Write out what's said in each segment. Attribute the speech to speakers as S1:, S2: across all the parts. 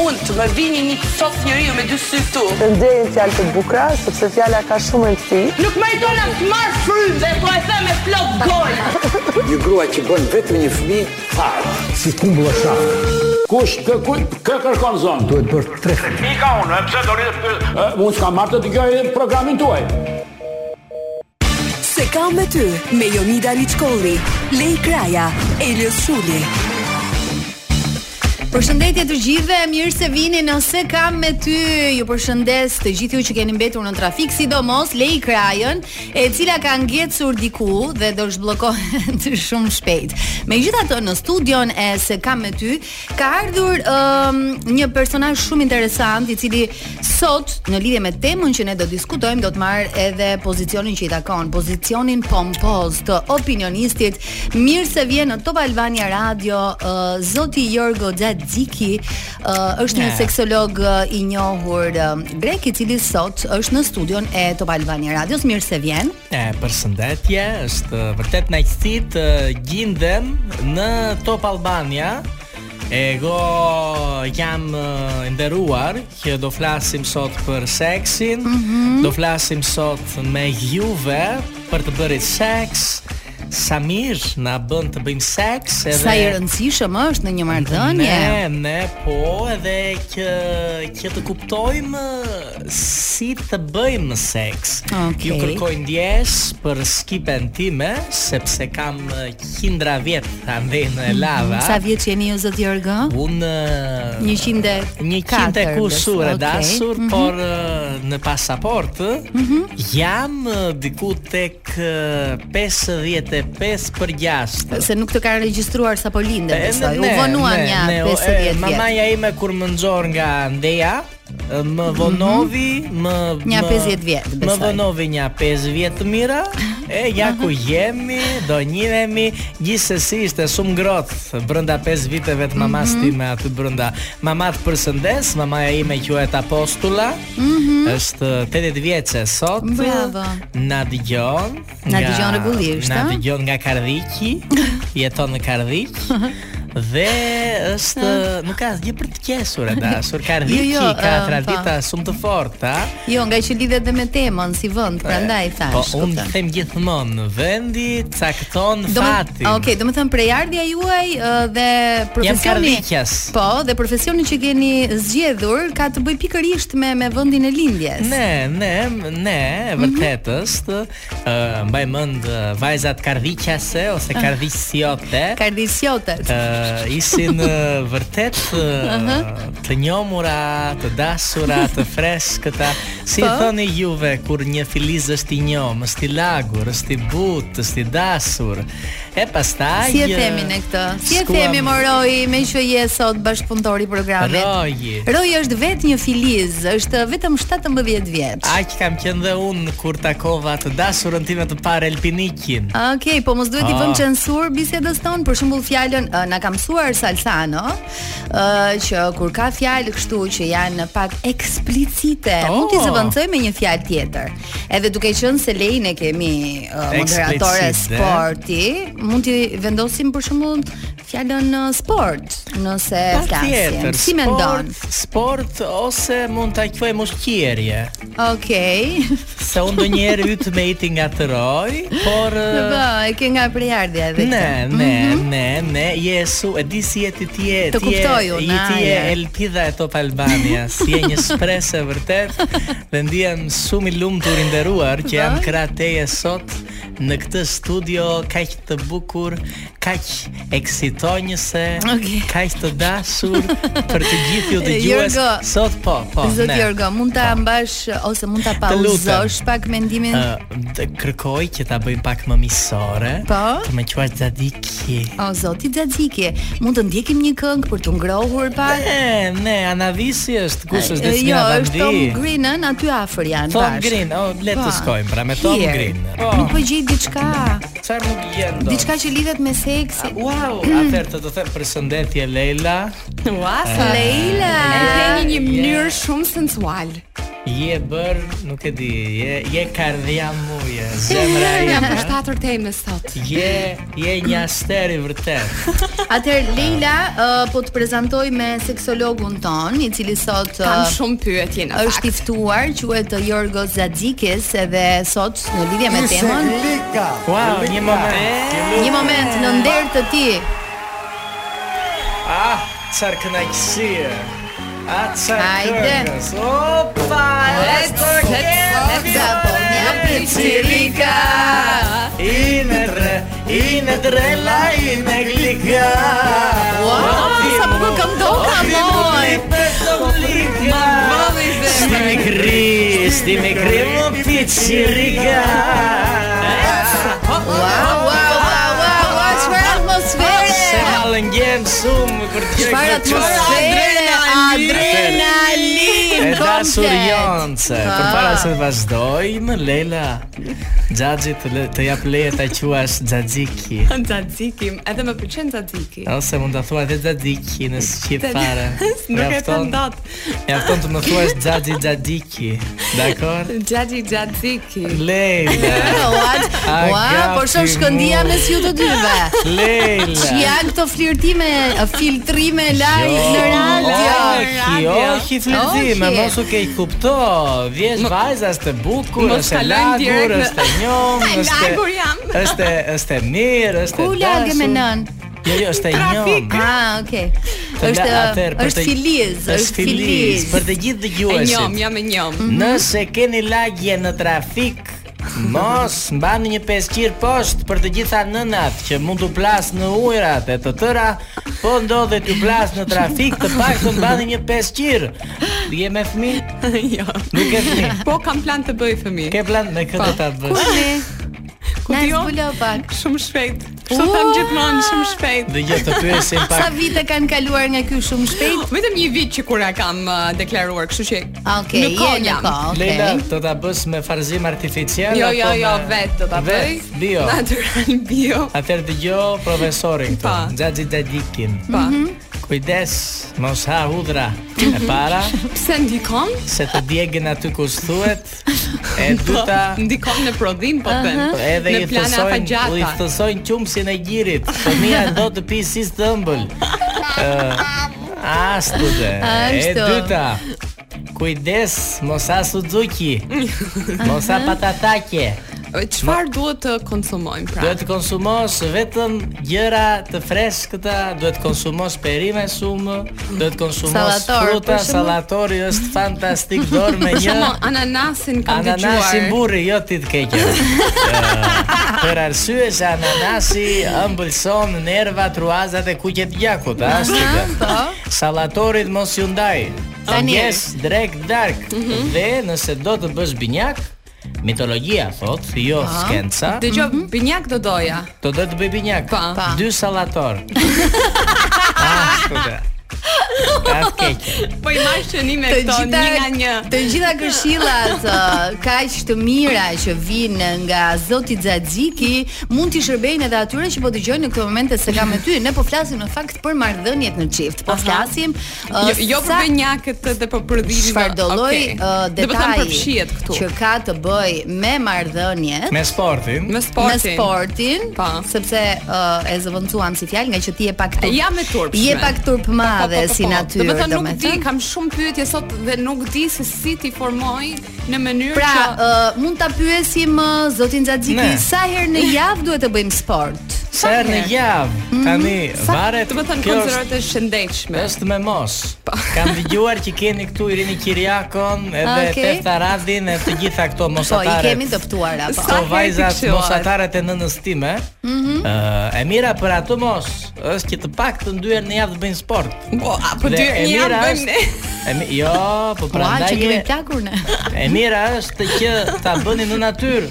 S1: unë të më vini një sot njeriu me dy sy këtu.
S2: Të ndjejnë fjalë të bukura, sepse fjala ka shumë rëndësi.
S1: Nuk më jeton as marr frymë dhe po e them me plot gojë.
S3: Një grua që bën vetëm një fëmijë fare.
S4: Si kumbulla shafë.
S5: Kush kë kë kë kërkon zonë?
S4: Duhet bërë tre fëmijë.
S5: Mika unë, e pse do rritë për... Unë s'ka marrë të dëgjoj programin tuaj.
S6: Se kam me ty, me Jonida Liçkolli, Lej Kraja, Elios Shuli.
S7: Përshëndetje të gjithëve, mirë se vini nëse kam me ty. Ju përshëndes të gjithë ju që keni mbetur në trafik, sidomos Lei Krajën, e cila ka ngecur diku dhe do zhbllokohet shumë shpejt. Megjithatë, në studion e se kam me ty ka ardhur um, një personazh shumë interesant i cili sot në lidhje me temën që ne do diskutojmë do të marr edhe pozicionin që i takon, pozicionin pompoz të opinionistit. Mirë se vjen në Top Albania Radio uh, zoti Jorgo Xhaxhi Dziki uh, është një seksolog uh, i njohur uh, grek i cili sot është në studion e Top Albania Radios. Mirë se vjen.
S8: E përshëndetje, është vërtet kënaqësi të gjindem në Top Albania. Ego jam uh, nderuar që do flasim sot për seksin,
S7: Mhm.
S8: do flasim sot me juve për të bërë seks, Samir na bën të bëjmë seks edhe
S7: Sa i rëndësishëm është në një marrëdhënie.
S8: Ne, ne, po, edhe që që të kuptojmë eh, si të bëjmë seks.
S7: Okej.
S8: Ju kërkoj ndjes për skipen time sepse kam eh, qindra vjet ande në lava.
S7: Sa vjeç jeni ju zot Jorgo?
S8: Un ε,
S7: 100
S8: Një qinte kusur e dashur,
S7: Mhm.
S8: por eh, në pasaportë jam eh, diku tek eh, 55 për jashtë.
S7: se nuk të ka regjistruar sapo lindë,
S8: E,
S7: besoj.
S8: ne-
S7: U
S8: ne-
S7: vonuan
S8: ne-
S7: ja
S8: ne, o, e,
S7: 50 vjet.
S8: Mamaja ime kur më nxor nga ndeja, e, më vonovi, më
S7: Nja
S8: më-
S7: 50 Mhm. vjet,
S8: Më
S7: besoj. Mhm.
S8: vonovi një 5 vjet të mira, e ja ku jemi, do njihemi, gjithsesi ishte shumë ngrohtë brenda 5 viteve të mamas
S7: Mhm.
S8: time aty brenda. Mama të përshëndes, mamaja ime quhet Apostula. Është 80 vjeçe sot.
S7: Mhm. Bravo.
S8: Na dëgjon.
S7: Na
S8: nga-
S7: dëgjon rregullisht,
S8: Na
S7: a?
S8: dëgjon Jo, nga Kardhiqi, jeton në Kardhiq. Dhe është nuk ka asgjë për të qesur e dashur. Kardhiqi
S7: Jo, jo,
S8: ka
S7: ëm,
S8: tradita shumë të forta.
S7: Jo, nga që lidhet dhe me temën si vend, prandaj
S8: Po
S7: thash.
S8: unë
S7: kupton.
S8: them gjithmonë vendi cakton
S7: Do më,
S8: fatin.
S7: okay, do të thënë prejardhja juaj ë, dhe profesioni.
S8: kardhiqjas.
S7: Po, dhe profesioni që keni zgjedhur ka të bëj pikërisht me me vendin e lindjes.
S8: Ne, ne, ne, e
S7: Mhm.
S8: vërtet është, ë, mbaj mend ë, vajzat kardhiqase ose
S7: Eh.
S8: kardhiqsiote.
S7: Kardiciotet.
S8: Ë, ishin ë, vërtet ë, të njomura, të dashura, të freskëta. Si
S7: Po.
S8: i thoni juve kur një filiz është i njom, është i lagur, është i butë, është i dashur. E pastaj
S7: Si e
S8: ë,
S7: themi ne këtë? Si e
S8: skuam-
S7: themi Moroi me që je sot bashkëpunëtori i programit?
S8: Roji.
S7: Roji është vetë një filiz, është vetëm 17 vjeç.
S8: Aq kam qenë dhe unë kur takova të dashurën time të parë Elpinikin.
S7: Okej, po mos duhet i
S8: Ah.
S7: vëm censur bisedës tonë, për shembull fjalën ë, na ka mësuar Salsano, ë, që kur ka fjalë kështu që janë pak eksplicite,
S8: Oh.
S7: mund t'i zëvendësoj me një fjalë tjetër. Edhe duke qenë se lejnë e kemi ë, moderatore
S8: Eksplicite.
S7: sporti, mund t'i vendosim për shembull fjalën ë, sport, nëse flasim. Si mendon?
S8: sport, sport ose mund ta quaj mushqierje.
S7: Okej.
S8: Se unë do njerë ytë me iti nga të roj, por...
S7: Në
S8: eh,
S7: bë, e ke nga prejardhja edhe.
S8: Ne,
S7: këtë.
S8: ne, ne, ne, jesu, e di si jeti ti je,
S7: Mhm. Të
S8: ti je,
S7: kuptoj unë,
S8: i ti je
S7: aje.
S8: elpida e top Albania, si je një sprese vërtet, dhe ndihem shumë i lumtur i nderuar që jam krah teje sot në këtë studio kaq të bukur, kaq eksitonjëse,
S7: Okej.
S8: kaq të dashur për të gjithë ju dëgjues.
S7: Jorgo,
S8: Sot po, po.
S7: Zot
S8: ne. Po.
S7: Jorgo, mund ta mbash ose mund ta
S8: Të lutem. Ah.
S7: pauzosh pak mendimin?
S8: Ë, të kërkoj që ta bëjmë pak më miqësore.
S7: Po?
S8: Të më quash Zadiki.
S7: O zoti Xhaxhiki, mund të ndjekim një këngë për të ngrohur pak?
S8: Ne, ne, Anavisi është kush është
S7: jo,
S8: Desmina
S7: është
S8: Bandi.
S7: Tom Greenën aty afër janë
S8: Ε, Tom
S7: bashkë.
S8: Green, oh, le të
S7: Po,
S8: shkojmë pra me Tom
S7: here.
S8: Green.
S7: Nuk po gjej diçka,
S8: çfarë nuk gjen dot?
S7: diçka që lidhet me seksin.
S8: Wow, atëherë të të them përshëndetje Leila.
S9: Ua, sa
S8: Ε,
S7: Leila.
S9: E theni një mënyrë shumë sensual.
S8: Je bër, nuk e di, je je kardhiamuje, zemra
S9: Jam për
S8: ime.
S9: shtator teme sot.
S8: Je je një aster i vërtet.
S7: Atëherë Leila ë, po të prezantoj me seksologun ton, i cili sot ë,
S9: Kam shumë pyetje në
S7: është i
S9: fakt.
S7: ftuar, quhet ë, Jorgo Zadzikis edhe sot në lidhje me temën
S8: Wow, një moment.
S7: Një moment në nder të ti.
S8: Ah, çfarë kënaqësie. Ah, çfarë.
S7: Hajde.
S8: këngës. Opa, let's
S7: Gapo, një picirika.
S8: Ine tre, ine tre la ine glika.
S7: Wow, sa po këm do ka moj.
S8: Mami Sti mi kri, sti mi kri mu piqirika
S7: Wow, wow, wow, wow, wow, çfarë
S8: Se
S7: atmosfere.
S8: halën gjem shumë kur të
S7: Çfarë atmosfere, adrenalin.
S8: E dashur
S7: komplet.
S8: jonce,
S9: Ah.
S8: për para se të vazhdojmë, Lela Gjagji të, le- të jap leje ta quash Xhaxhiki
S9: Xaxikim, edhe më pëlqen Xaxiki.
S8: Ose mund ta thua edhe Xhaxhiki në shqip fare
S9: Nuk e
S8: Mjafton-
S9: thon dot.
S8: Mjafton të më thuash Xhaxhi Xhaxhiki Dakor?
S9: Xhaxi Xaxiki.
S8: Leila
S7: What?
S8: A
S7: Ua, po
S8: gapi
S7: shoh shkëndia
S8: mu.
S7: mes ju të dyve. Që
S8: Leila
S7: janë këto flirtime, filtrime live
S8: Jo,
S7: në radio.
S8: Oki, oki flirtime,
S7: Oki.
S8: mos u ke i kupto Vjesh vajza, është e bukur,
S9: Mos
S8: është e
S9: kalojmë direkt
S8: lagur,
S9: në-
S8: është e njom
S9: E
S8: është
S9: lagur jam.
S8: është e- është e mirë, është e
S7: Ku lagë me nën?
S8: Jo, jo, është e njom
S7: Ah, okay.
S8: Të la-
S7: Është
S8: atëherë, për
S7: është
S8: të-
S7: filiz, është filiz.
S8: Për të
S9: E
S8: gjithë dëgjuesit
S9: njom, jam e njom.
S8: Nëse keni lagje në trafik, mos mbani një pesqir poshtë për të gjitha nënat që mund t'u plas në ujërat e të tëra, po ndodhet t'u plas në trafik, të paktën mbani një pesqir. Je me fëmijë?
S9: jo.
S8: Nuk e fëmijë.
S9: Po kam plan të bëj fëmijë.
S8: Ke plan me këtë ta bësh?
S7: Ne,
S9: Ku
S7: na
S8: jo?
S9: dio?
S7: zbulo pak.
S9: Shumë shpejt. Kështu tham
S7: Ua!
S9: gjithmonë, shumë shpejt.
S8: Dhe gjë të pyesim
S7: Sa
S8: pak.
S7: vite kanë kaluar nga ky shumë shpejt?
S9: Vetëm një vit që kur e kam uh, deklaruar, kështu që
S7: Okej,
S9: në kohë
S7: je në
S9: jam.
S7: kohë. Okej.
S8: Leila, do ta bësh me farzim artificial?
S9: Jo,
S8: apo
S9: jo, jo,
S8: me-
S9: vetë do ta bëj.
S8: Vetë, bio.
S9: Natural bio.
S8: Atëherë dëgjo profesorin këtu,
S9: Pa.
S8: Xhaxhi Xhaxhikin.
S9: Pa.
S8: Kujdes, mos ha hudra. E para,
S9: Pse ndikon?
S8: se të djegën aty ku thuhet. E dyta
S9: Po, ndikon në prodhim po them.
S8: edhe i
S9: në plana
S8: thosojnë, u i
S9: afagjata.
S8: thosojnë qumësin e gjirit. Fëmia do të pi si të ëmbël. Ε, Ë ashtu dhe. E
S7: Ashtu.
S8: dyta Kujdes, mos ha Suzuki. Mos ha patatake.
S9: Çfarë duhet të konsumojmë pra?
S8: Duhet të konsumosh vetëm gjëra të freskëta, duhet të konsumosh perime shumë, duhet të konsumosh
S7: Sallator,
S8: fruta,
S7: për shembull.
S8: sallatori është fantastik dorë me
S9: Për
S8: një.
S9: shembull, ananasin kam dëgjuar.
S8: Ananasi burri, jo ti të keqe. Ë, Për arsye se ananasi ëmbëlson nervat, ruazat e kuqet gjakut, a është kjo?
S9: Po.
S8: Sallatorit mos ju ndaj. Të
S7: Tani.
S8: ndjes drek dark.
S9: Mhm.
S8: Dhe nëse do të bësh binjak, mitologjia thot, jo
S9: Po.
S8: skenca,
S9: Dëgjoj, binjak do doja.
S8: do do të bëj binjak.
S9: Pa. Pa.
S8: Dy sallator. Ah, Ashtu dhe. Atë keqe.
S9: Po i marr shënime
S7: Të
S9: këto
S7: gjitha
S9: një nga një.
S7: të gjitha këshillat ë, kaq të mira që vinë nga Zoti Xhaxhiki mund t'i shërbejnë edhe atyre që po dëgjojnë në këtë moment se kam me ty. Ne po flasim në fakt për marrëdhëniet në çift. Po flasim ë,
S9: Jo, jo për
S7: sa-
S9: binjakët dhe për prodhimin.
S7: çfarë do lloj
S9: okay.
S7: ë,
S9: Do të thënë
S7: detaji
S9: po përfshihet këtu.
S7: që ka të bëj me marrëdhëniet
S8: Me sportin.
S9: Me sportin. Po.
S7: me sportin,
S9: Pa.
S7: sepse ë, e zëvendësuam si fjalë nga që ti je pak turp.
S9: Jam e turpshme.
S7: Je pak
S9: Po,
S7: turpmadhe si natyrë,
S9: Do të thënë nuk di,
S7: domethënë.
S9: kam shumë pyetje sot dhe nuk di se si ti formoj në mënyrë
S7: Pra,
S9: që
S7: ë, mund ta pyesim ë, zotin Xhaxhiki
S8: Ne.
S7: sa herë në javë duhet të bëjmë sport?
S8: Sa herë në
S9: herë?
S8: javë.
S9: Mm.
S8: Tani varet.
S9: do të thënë
S8: kjo është-
S9: konsiderohet e shëndetshme.
S8: Është me mos.
S7: Po.
S8: Kam dëgjuar që keni këtu Irini Kiriakon edhe
S7: Okej.
S8: Tefta Radhin e të gjitha këto
S7: Po, i
S8: mosatare.
S7: kemi dëptuar apo?
S9: Sa
S8: Këto
S9: herë ti
S8: vajzat
S9: këshilluar?
S8: mosataret e nënës time. Ëh,
S7: Mhm.
S8: e mira për ato mos është që të paktën dy herë në javë të bëjnë sport.
S9: Po, a po
S8: Dhe
S9: dy
S8: e
S9: një
S8: mira
S9: javë bëjmë
S8: është-
S9: ne.
S8: E mi, jo, po
S7: Pra,
S8: prandaj
S7: që
S8: je-
S7: kemi plakur ne.
S8: E mira është që ta bëni në natyrë,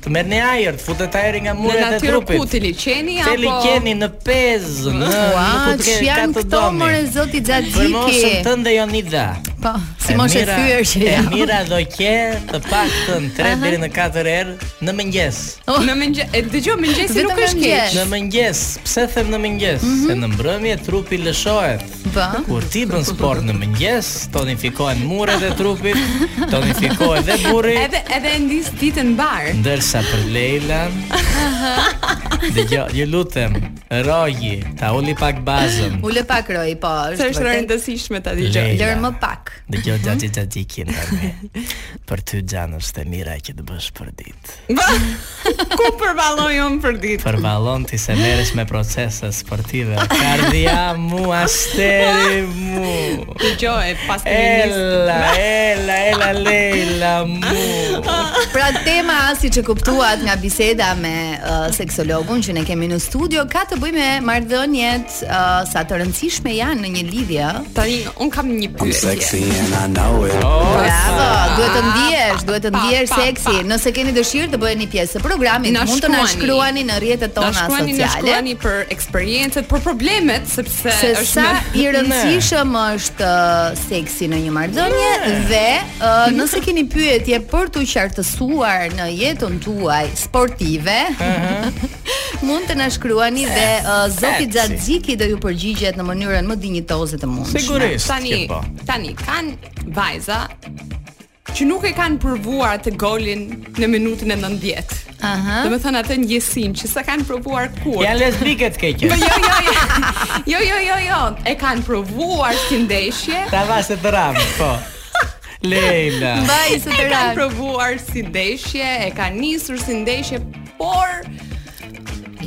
S8: të merrni ajër, të futet ajri nga
S9: Në
S8: muret e
S9: natyrë
S8: trupit.
S9: ku ti liqeni
S8: Te
S9: apo
S8: liqeni në pezë, në
S7: Ua,
S8: në ku të
S7: që
S8: ke- ka
S7: janë
S8: të
S7: këto
S8: doni.
S7: more zoti
S8: Për mosën
S7: Xhaxhiki.
S8: tënde Jonida.
S7: Po, si moshe
S8: mira-
S7: thyer që
S8: E
S7: ja.
S8: mira do ke të paktën 3 deri në 4 erë në mëngjes.
S7: Oh.
S9: Në mëngjes, e dëgjoj mëngjesi
S7: Vetëm
S9: nuk është keq.
S7: mëngjes.
S8: Në mëngjes, pse them në mëngjes?
S7: Mhm.
S8: Se në mbrëmje trupi lëshohet.
S7: Po.
S8: Kur ti bën sport në mëngjes, tonifikohen muret e trupit, tonifikohet dhe burri.
S9: Edhe edhe e ndis ditën mbar.
S8: Ndërsa për Lejlan Dhe jo, ju lutem Roji, ta uli pak bazën
S7: Ule pak roj, po.
S9: Se është
S7: vërtet.
S9: rëndësishme ta dëgjoj.
S8: Lejla.
S7: Lër më pak.
S8: Dhe kjo
S9: Mhm.
S8: gjati gjati kinder me Për ty gjanës të mira që të bësh për ditë
S9: Ku përballoj unë për ditë?
S8: Për balon ti se meresh me procese sportive Kardia mu, asteri mu
S9: Dëgjoj pas feminist.
S8: Ela, ela, ela, Lejla mu
S7: Pra tema siç e kuptuat nga biseda me uh, seksologun që ne kemi në studio ka të bëjë me marrëdhëniet uh, sa të rëndësishme janë në një lidhje.
S9: Tani un kam një pyetje.
S3: and I know it.
S7: Bravo, duhet të ndihesh, duhet të
S9: Pa,
S7: ndihesh
S9: pa,
S7: seksi.
S9: pa.
S7: Nëse keni dëshirë të bëheni pjesë e programit,
S9: Na
S7: mund të na
S9: shkruani.
S7: shkruani në rrjetet
S9: Na
S7: tona
S9: shkruani, na
S7: sociale.
S9: shkruani për eksperiencët, për problemet, sepse
S7: se
S9: është
S7: sa
S9: me-
S7: i rëndësishëm është ë, seksi në një marrëdhënie dhe ë, nëse keni pyetje për t'u qartësuar në jetën tuaj sportive, mund të na shkruani dhe ë, zoti
S8: Seksi.
S7: Xhaxhiki do ju përgjigjet në mënyrën më dinjitoze të mundshme.
S8: Sigurisht
S9: tani
S8: që po
S9: tani kanë vajza që nuk e kanë provuar atë golin në minutën e 90.
S7: Aha.
S9: Do të thënë atë ndjesinë që s'e kanë provuar kur.
S8: Janë lesbiket
S9: Po
S8: keke
S9: jo, jo, jo. Jo, jo, jo, jo. E kanë provuar si ndeshje.
S8: Ta vase të ramë, po Lejla
S7: Mbaj së
S9: E
S7: të
S9: kanë
S7: rarë.
S9: provuar si ndeshje, e kanë nisur si ndeshje, por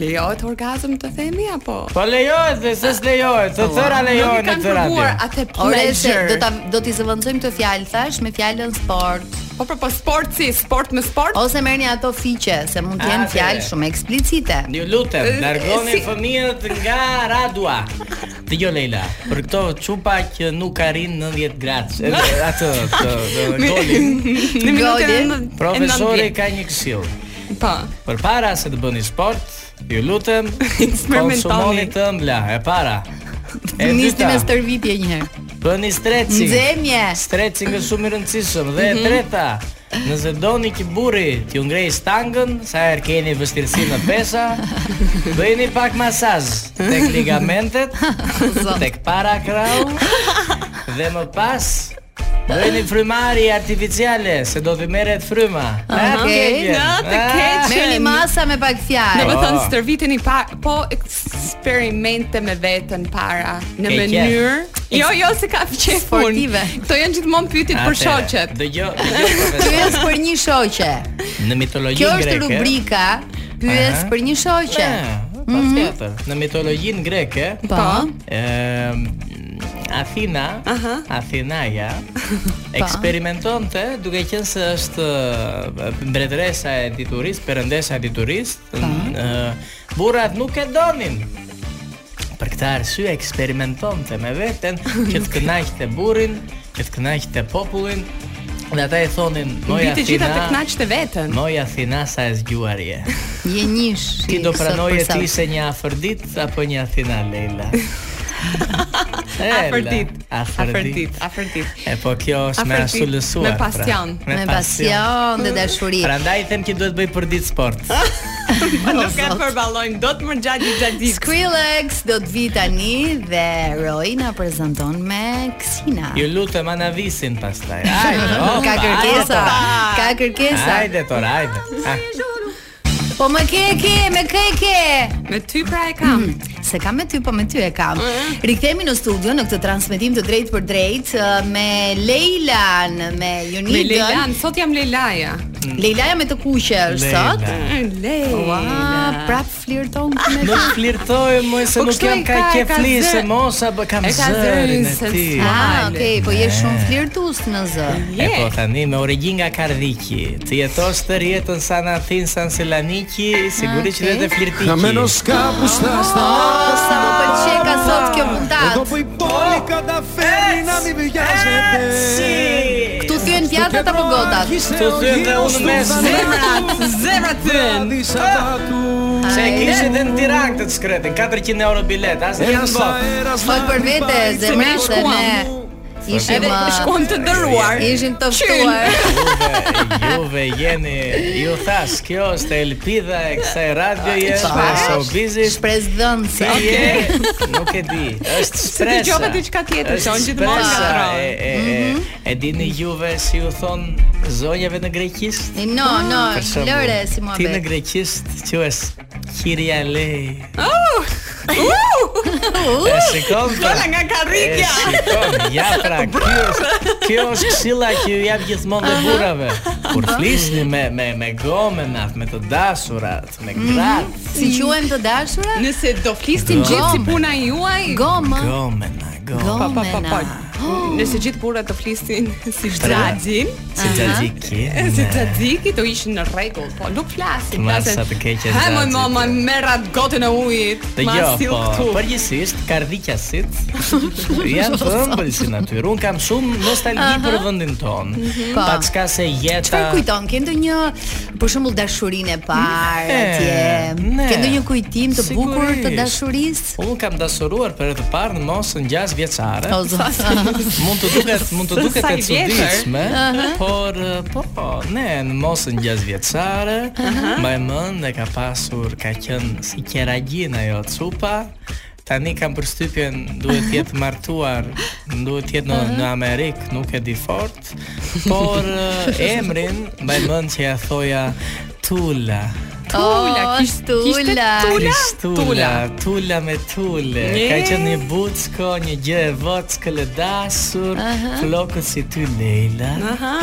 S9: lejohet orgazm të themi apo?
S8: Po lejohet, dhe se s'lejohet, të tëra
S9: Po, Nuk e
S8: lejohet në
S9: kanë
S8: të radio.
S9: provuar atë
S7: Ore, se
S9: pleasure.
S7: do ta do t'i zëvendësojmë këtë fjalë thash me fjalën sport
S9: Po po po sport si sport me sport.
S7: ose merrni ato fiqe se mund të jenë
S8: Atëre.
S7: fjalë shumë eksplicite.
S8: Ju lutem,
S9: E,
S8: largoni
S9: si-
S8: fëmijët nga Radua. Dhe jo Leila, për këto çupa që nuk arrin 90 gradë, edhe atë të, të golin.
S9: Në minutën e
S7: Golin.
S9: nënd-
S8: Profesori
S9: e nëndjet.
S8: ka një këshill.
S9: po.
S8: Përpara se të bëni sport, ju lutem
S9: Eksperimentoni.
S8: konsumoni të ëmbla e para. E
S7: Nisni
S8: dyta,
S7: me stërvitje një herë.
S8: bëni stretching.
S7: Nxemje. Mhm.
S8: Stretching është shumë i rëndësishëm dhe e treta, nëse doni që burri t'ju ngrej stangën, sa herë keni vështirësi në pesa, bëjeni pak masazh tek ligamentet,
S7: Zot.
S8: tek para krahu dhe më pas Bëjni frymari artificiale se do t'i merret fryma.
S7: Aha.
S8: Na të keqen.
S9: Na të keqen.
S7: Merrni masa me pak
S9: Do
S7: fjalë.
S9: të thënë
S8: Po.
S9: stërviteni pa po eksperimente me veten para në
S8: Ke qef.
S9: mënyrë. Jo, jo, se ka qef
S7: Sportive.
S9: unë. Këto janë gjithmonë pyetjet për
S8: Atëre,
S9: shoqet.
S8: Dëgjoj, dëgjoj profesor.
S7: Pyes për një shoqe.
S8: Në mitologjinë
S7: Kjo
S8: greke.
S7: është rubrika Pyes
S8: Aha. Ah.
S7: për një shoqe.
S8: Ne, pa tjetër. Në mitologjinë greke,
S7: Po.
S8: Ëm, Athina, Athinaja eksperimentonte duke qenë se është ë, mbretëresa e diturisë, perëndesa e diturisë, ë, burrat nuk e donin. Për këtë arsye eksperimentonte me veten që të kënaqte burrin, që të kënaqte popullin, dhe ata i thonin Moj
S9: Mbi të gjitha të
S8: Athina,
S9: kënaqsh të veten.
S8: Moj Athina sa e zgjuar je.
S7: Je njish.
S8: Ti do
S7: i sot
S8: pranoje
S7: për sot.
S8: ti se një afërdit apo një Athina Leila?
S9: Afërdit.
S8: Afërdit.
S9: Afërdit, afërdit.
S8: E po kjo është me
S9: Afërdit,
S8: ashtu lësuar.
S9: me pasion.
S8: Pra.
S7: me pasion dhe dashuri. Po,
S8: Prandaj them që duhet bëj për ditë sport.
S9: Nuk e përballojmë dot më gjatë gjatë ditës.
S7: Skrillex do të vi tani dhe Roy na prezanton me Ksina.
S8: Ju lutem anavisin pastaj. oh, ah, Hajde. opa,
S7: Ka kërkesa,
S8: hajde,
S7: ka kërkesa.
S8: Hajde tor, hajde. Ah,
S7: Po më ke ke, më ke ke.
S9: Me ty pra e kam.
S7: Se kam me ty, po me ty e kam. Rikthehemi në studio në këtë transmetim të drejtë për drejtë ë, me Leilan, me
S9: Me
S7: Jonidën.
S9: Leilan, sot jam Leilaja.
S7: Leilaja me të kuqe është sot.
S8: Leila.
S9: Leila.
S7: Ua, prap flirton këtu me
S8: Nuk flirtoj më se
S9: Po
S8: nuk
S9: kështu
S8: jam
S9: e
S8: ka
S9: ka- ka
S8: qefli
S9: zë-
S8: se mos apo kam
S9: e ka
S8: zërin
S9: zërin
S8: e
S9: se
S8: ti. Eh.
S9: s'ka.
S7: Ah,
S9: Ale.
S7: okay, po je shumë flirtues në zë.
S8: E po tani me origjinë nga Kardiki, të jetosh të rjetën sa në Athinë, sa në Selaniki, sigurisht që
S7: okay.
S8: dhe të flirtiki. Oh,
S7: Po sa më pëlqej ka sot kjo puntat. Këtu thyen pjatat apo gotat?
S8: Të thyen dhe unë mes.
S9: Zemrat, zemrat thën.
S8: Se kishit edhe në Tiranë këtë skretin, 400 euro bilet, asë një janë botë.
S7: Fol për vete, zemra se ne Ishim
S9: Edhe
S7: uh,
S9: shkuam të dëruar.
S7: Ishim të
S9: Qyn.
S7: ftuar.
S8: Juve, juve jeni, ju thash, kjo është e lpidha e kësaj radioje, e showbizit.
S7: Shpresë dhënëse.
S8: Si je? Nuk e di. Është
S9: Se
S8: shpresa.
S9: dëgjova diçka tjetër,
S8: Është
S9: që unë gjithmonë
S8: shpresa.
S9: ngatron.
S8: E, e, e, e dini juve si u thon zonjave në greqisht?
S7: No, no,
S8: Për shembull,
S7: Lore si mua
S8: Ti në
S7: bet.
S8: greqisht quhesh Kirialei.
S7: U,
S8: E shikon pra.
S9: Dola nga
S8: E
S9: karritja.
S8: shikon, ja pra, kjo është, kjo është këshilla që ju jap gjithmonë dhe burrave. Kur flisni me me me gomenat, me të dashurat, me gratë,
S7: si quhen të dashura?
S9: Nëse do flistin
S8: Gome.
S9: gjithë si puna juaj,
S7: Goma.
S8: gomena, gomena.
S9: pa pa pa pa.
S7: Gomena.
S9: Nëse gjithë burrat do flistin si
S8: Shtrena.
S9: xhaxhin,
S8: Si xhaxhiki.
S9: si xhaxhiki do ishin në rregull, po nuk flasin,
S8: Ma sa të keqe
S9: Ha më
S8: xhaxhit."
S9: mama merrat gotën e ujit.
S8: Dhe
S9: Ma
S8: jo,
S9: sill
S8: po,
S9: këtu.
S8: përgjithsisht kardikasit janë të ëmbël si natyrë. Un kam shumë nostalgji për vendin ton.
S7: Po.
S8: Paçka se jeta.
S7: Çfarë kujton? Ke ndonjë për shembull dashurinë e parë
S8: Ne, ne.
S7: atje? Ke ndonjë kujtim të bukur të
S8: Sigurisht.
S7: dashurisë?
S8: Un kam dashuruar për herë të parë në mosën 6 vjeçare.
S7: O zot.
S8: Mund të duket, mund të duket
S9: Sa
S8: e
S9: i vjetër.
S8: çuditshme, por eh, po, po, ne në mosën 6 vjeçare, më e mend e ka pasur ka qenë si qeragjin ajo cupa. Tani kam përshtypjen duhet të jetë martuar, duhet të jetë në, në Amerikë, nuk e di fort, por eh, emrin më e mend që ja thoja Tula.
S9: Tula,
S8: Oh,
S9: kishte- kishte tula.
S8: Kristula, tula me tule.
S9: Nje.
S8: Ka qenë një bucko, një gjë e vockël e dasur, flokët si ty Leila.
S9: Aha,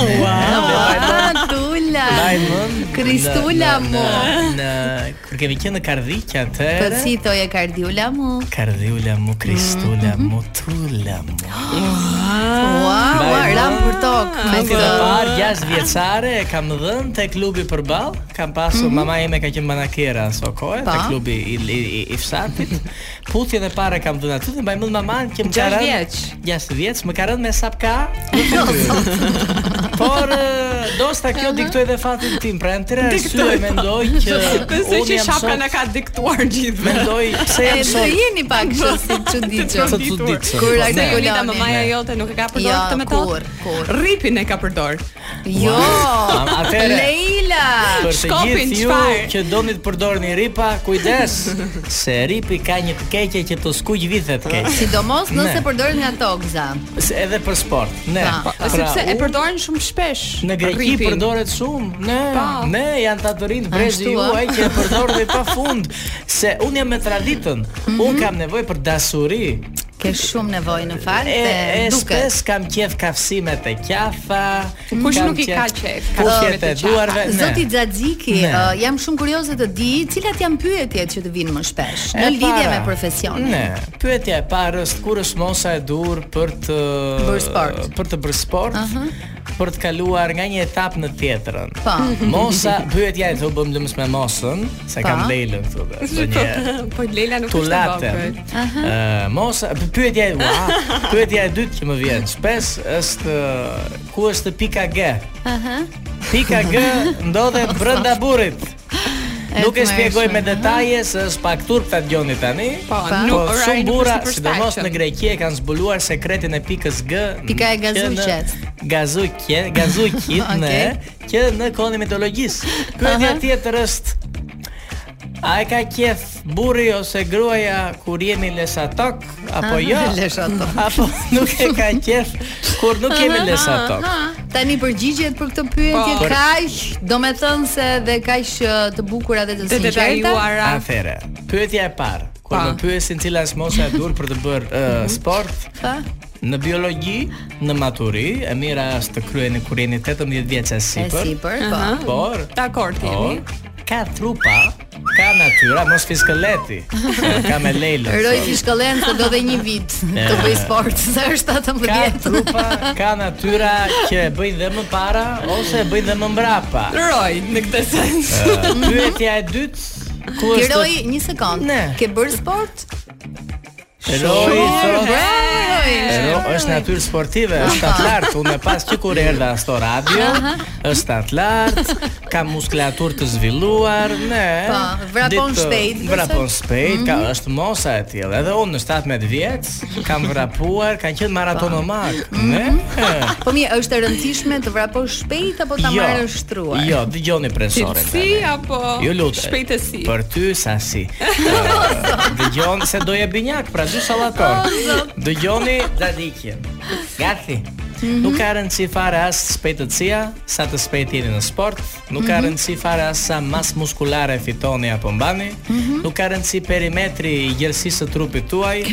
S8: Ναι.
S7: Ah, Tula.
S8: Lajmën.
S7: Kristula,
S8: në- në-
S7: mo.
S8: në- në- Kur kemi qenë në Kardhiqë
S7: Po
S8: atëherë.
S7: si thoje Kardiula mu?
S8: Kardhiula mu, Kristula mu, Tula mu. Ah.
S7: Wow,
S8: Mbaj
S7: wow,
S8: mend.
S7: ram për tokë. me
S8: Vitin e
S7: këtë.
S8: parë 6 vjeçare e kam dhënë te klubi përball. Kam pasur mama ime ka qenë banakera në Sokoje, te
S7: Pa.
S8: klubi i i, i, i fshatit. Putjen e parë e kam dhënë aty dhe mbaj mend maman që më ka
S9: Gjashtë
S8: rënë
S9: vjeç.
S8: 6 vjeç, më ka rënë me sapka. në fytyrë. Por e, dosta kjo diktoi dhe fatin tim, pra në tëra arsye mendoj që
S9: Besoj
S8: unë
S9: që
S8: jam
S9: shapka
S8: sot
S9: na ka diktuar gjithve.
S8: mendoj pse
S7: E
S8: jam
S7: do
S8: sot
S7: jeni pak kështu si çuditshëm.
S8: të çuditshëm.
S7: Kur
S8: Po,
S9: Se
S8: ne-
S7: artikulon-
S9: Jonida
S7: Koloni.
S8: Ναι.
S9: mamaja jote nuk e ka përdorur
S7: Jo,
S9: këtë metodë.
S7: kur, kur.
S9: Ripin e ka përdor.
S7: Jo.
S8: Am- atëre.
S7: Leila.
S8: Për të
S9: Shkopin,
S8: gjithë ju
S9: çfarë?
S8: që doni të përdorni ripa, kujdes se ripi ka një të keqe që të skuq vithe të keqe.
S7: Sidomos nëse
S8: Ne.
S7: përdoret nga tokza.
S8: Se edhe për sport. Ne.
S7: Pa.
S8: Pra,
S9: Sepse e
S8: u-
S9: përdorin shumë shpesh.
S8: Në Greqi
S9: ripin.
S8: përdoret shumë. Ne,
S9: Pa.
S8: ne janë ta të rinë brezi
S7: Ashtu, a?
S8: juaj që e përdorni pafund se unë jam me traditën.
S9: Mhm.
S8: Unë kam nevojë për dasuri.
S7: Ke shumë nevojë në fakt
S8: E,
S7: e
S8: e
S7: duket.
S8: spes kam qef kafsimet e qafa.
S9: Kush
S8: kam
S9: nuk i ka qef kafsimet
S8: Kushtet
S9: e
S8: e duarve. ne.
S7: Zoti Xhaxhiki,
S8: Ne.
S7: uh, jam shumë kurioze të di cilat janë pyetjet që të vinë më shpesh në
S8: E
S7: lidhje
S8: para.
S7: me profesionin.
S8: Ne, pyetja e parë është kur është mosa e dur për të Eh,
S7: Bërë sport.
S8: për të bërë sport, për të kaluar nga një etapë në tjetrën.
S7: Po.
S8: Mosa, pyetja e thonë bëm lëmës me mosën, se kam
S7: Pa.
S8: Leilën këtu. dhe është një
S9: Po Leila nuk është e
S8: Tulate.
S9: vogël.
S8: Ë, mosa, eh, pyetja e ua, pyetja e dytë që më vjen shpesh është ë, ku është pika G? Pika G ndodhet brenda burrit.
S7: E
S8: Nuk e
S7: të
S8: shpjegoj me
S7: mërshme.
S8: detaje se është pak turp ta dëgjoni tani.
S9: Po,
S7: Pa.
S9: nuk
S8: Po,
S9: orari
S8: shumë
S9: nuk
S8: burra,
S9: është i
S8: sidomos në
S9: përshtatshëm.
S8: Greqi e kanë zbuluar sekretin e pikës G.
S7: Pika e
S8: që
S7: gazuqes.
S8: në- Gazuqje, gazuqit
S7: Okej.
S8: në që në kohën e mitologjisë. Pyetja tjetër është A e ka qef burri ose gruaja kur jemi lesatok apo
S7: Aha,
S8: jo?
S7: leshatok.
S8: Apo nuk e ka qef kur nuk jemi lesatok?
S7: Tani përgjigjet për këtë pyetje
S9: Po.
S7: kaq, domethënë se dhe kaq ë, të bukura dhe të
S9: Të
S7: sinqerta.
S9: detajuara.
S8: Atëre, pyetja e parë, kur
S9: Pa.
S8: më pyesin cila është mosa e dur për të bërë ë, sport,
S7: Po.
S8: Në biologji, në maturi, e mira është të kryeni kur jeni 18 vjeç e
S7: E
S8: sipër,
S7: sipër, po.
S9: Aha.
S8: por
S9: Dakor
S8: por
S9: jemi.
S8: ka trupa, ka natyra, mos fiskaleti. Ka me Leilën.
S7: Roj
S8: sot.
S7: fishkëllen se do dhe një vit të bëj sport, se është 17
S8: Ka
S7: vjet.
S8: trupa, ka natyra që e bëjnë dhe më para ose e bëjnë dhe më mbrapa.
S9: Roj në këtë sens.
S8: Ë, Pyetja e dytë, ku
S7: Ti
S8: është
S7: Roj, një sekond.
S8: Ne.
S7: Ke bërë sport?
S8: Roy thotë
S7: Bravo.
S8: Ero është natyrë sportive, është atlart, unë e pas që kur erdha në sto radio, është atlart, ka muskulatur të zhvilluar, ne.
S7: Po, vrapon
S8: ditë-
S7: shpejt, besoj. Mhm.
S8: Vrapon shpejt, ka, është mosa e tillë. Edhe unë në 17 vjeç kam vrapuar, kam qenë maratonomak, ne.
S7: Po mirë, është e rëndësishme të vraposh shpejt apo Po, ta marrësh shtruar?
S8: Jo, dëgjoni presoren.
S9: Si
S8: tani.
S9: apo
S8: Ju lutem.
S9: Po, shpejtësi?
S8: Jo, Për ty sasi. Ë, Dëgjoni se doje binjak, pra dy sallator. Dëgjoni dadikjen. Gati. Nuk ka rëndësi fare as shpejtësia, sa të shpejt jeni në sport, nuk ka rëndësi fare as sa mas muskulare fitoni apo mbani, nuk ka rëndësi perimetri i gjersisë së trupit tuaj.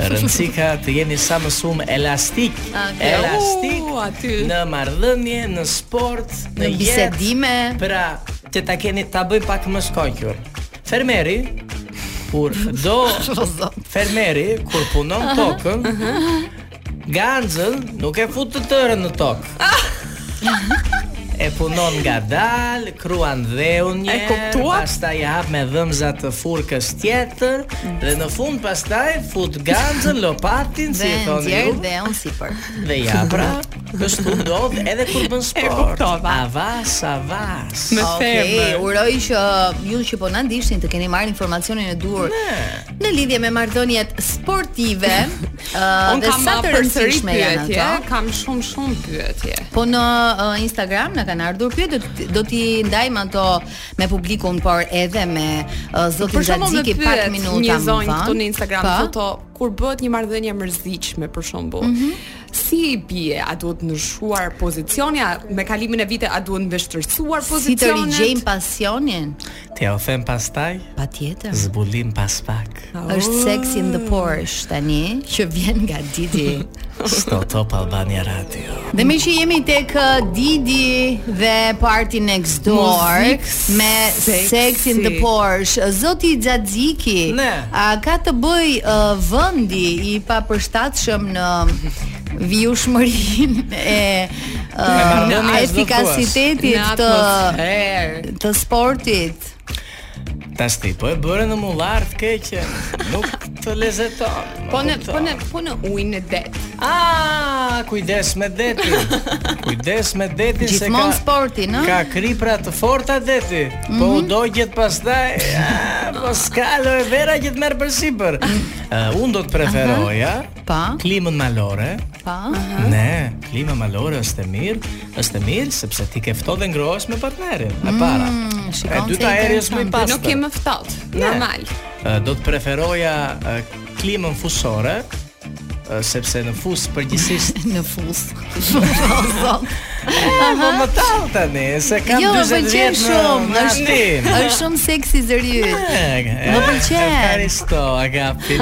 S8: Rëndësi ka të jeni sa më shumë elastik.
S7: Okay.
S8: Elastik
S9: U, aty.
S8: në marrëdhënie, në sport, në,
S7: Në
S8: jetë.
S7: bisedime.
S8: Pra, që ta keni ta bëjmë pak më shkonqur. Fermeri kur do fermeri kur punon tokën, ganzën nuk e fut të tërën në tokë. E punon nga dalë, kruan dheun një,
S9: E kuptua?
S8: pastaj e hap me dhëmza të furkës tjetër, dhe në fund pastaj fut ganzën, lopatin, si
S7: Dhe
S8: e thoni ju.
S7: ndjer dhe unë sipër.
S8: Dhe ja, pra, kështu ndodh edhe kur bën sport.
S9: kuptova.
S8: Avas, avas.
S9: Me
S7: Okej,
S9: femër.
S7: uroj që ju që po na ndishtin të keni marrë informacionin e duhur në lidhje me marrëdhëniet sportive, ë
S9: Unë
S7: dhe
S9: kam
S7: sa
S9: uh,
S7: të
S9: përsëri
S7: rëndësishme janë
S9: pyetje,
S7: ato.
S9: kam shumë shumë pyetje.
S7: Po në ë, Instagram na kanë ardhur pyetje, do t'i- do t'i ndajmë ato me publikun, por edhe me ë, zotin
S9: Për shembull më
S7: Zadziki pak
S9: pyet
S7: minuta
S9: një
S7: më
S9: zonjë
S7: vonë.
S9: këtu në Instagram
S7: Po.
S9: foto kur bëhet një marrëdhënie e mërzitshme për shembull.
S7: Mhm.
S9: Si i bie? A duhet ndryshuar pozicioni? A me kalimin e vite a duhet mbështërsuar
S7: Si të
S9: "Oh, pozicionet?
S7: rigjejmë pasionin?
S8: Te u them pastaj,
S7: Patjetër.
S8: zbulim pas pak.
S7: Është Sex in
S9: Oh.
S7: the Porsche tani, që vjen nga Didi.
S8: Sto Top Albania Radio.
S7: Dhe me që jemi tek uh, Didi dhe Party Next Door
S9: Muzik
S7: me
S9: seksi.
S7: Sex in the Porsche, zoti Xhaxhiki,
S8: Ne.
S7: a ka të bëj uh, vendi i papërshtatshëm në vijushmërinë e uh,
S8: marrëdhënien e
S9: Në
S7: efikasitetit të
S9: atmosferë.
S7: të sportit.
S8: Tas ti po e bëre në mullar të keqe. Nuk të lezeton. më
S9: Po në
S8: kupton.
S9: po në po në ujin e det.
S8: A, kujdes me detin. Kujdes me detin se ka
S7: Gjithmonë sporti, në?
S8: Ka kripra të forta deti. Po u dogjet pastaj, a, po s'ka aloe vera që të merr për sipër. Uh, unë do të preferoja
S7: Pa.
S8: klimën malore.
S7: Pa.
S8: Ne, klima malore është e mirë, është e mirë sepse ti ke ftohtë dhe ngrohesh me partnerin. E para.
S7: Mm, shikon
S8: e
S7: se
S8: dyta erë është më i
S7: interesant.
S8: pastër.
S9: Nuk kem ftohtë, normal.
S8: Ë, do të preferoja ë, klimën fusore, ë, sepse në fus përgjithsisht
S7: Në fus. O, zot.
S8: e po më tall tani, se kam
S7: Jo, më
S8: 40
S7: pëlqen
S8: vjet në
S7: shumë.
S8: në
S7: Është
S8: Atin.
S7: është shumë seksi zëri yt.
S8: E, e,
S7: Më pëlqen.
S8: Evkaristo, agapi.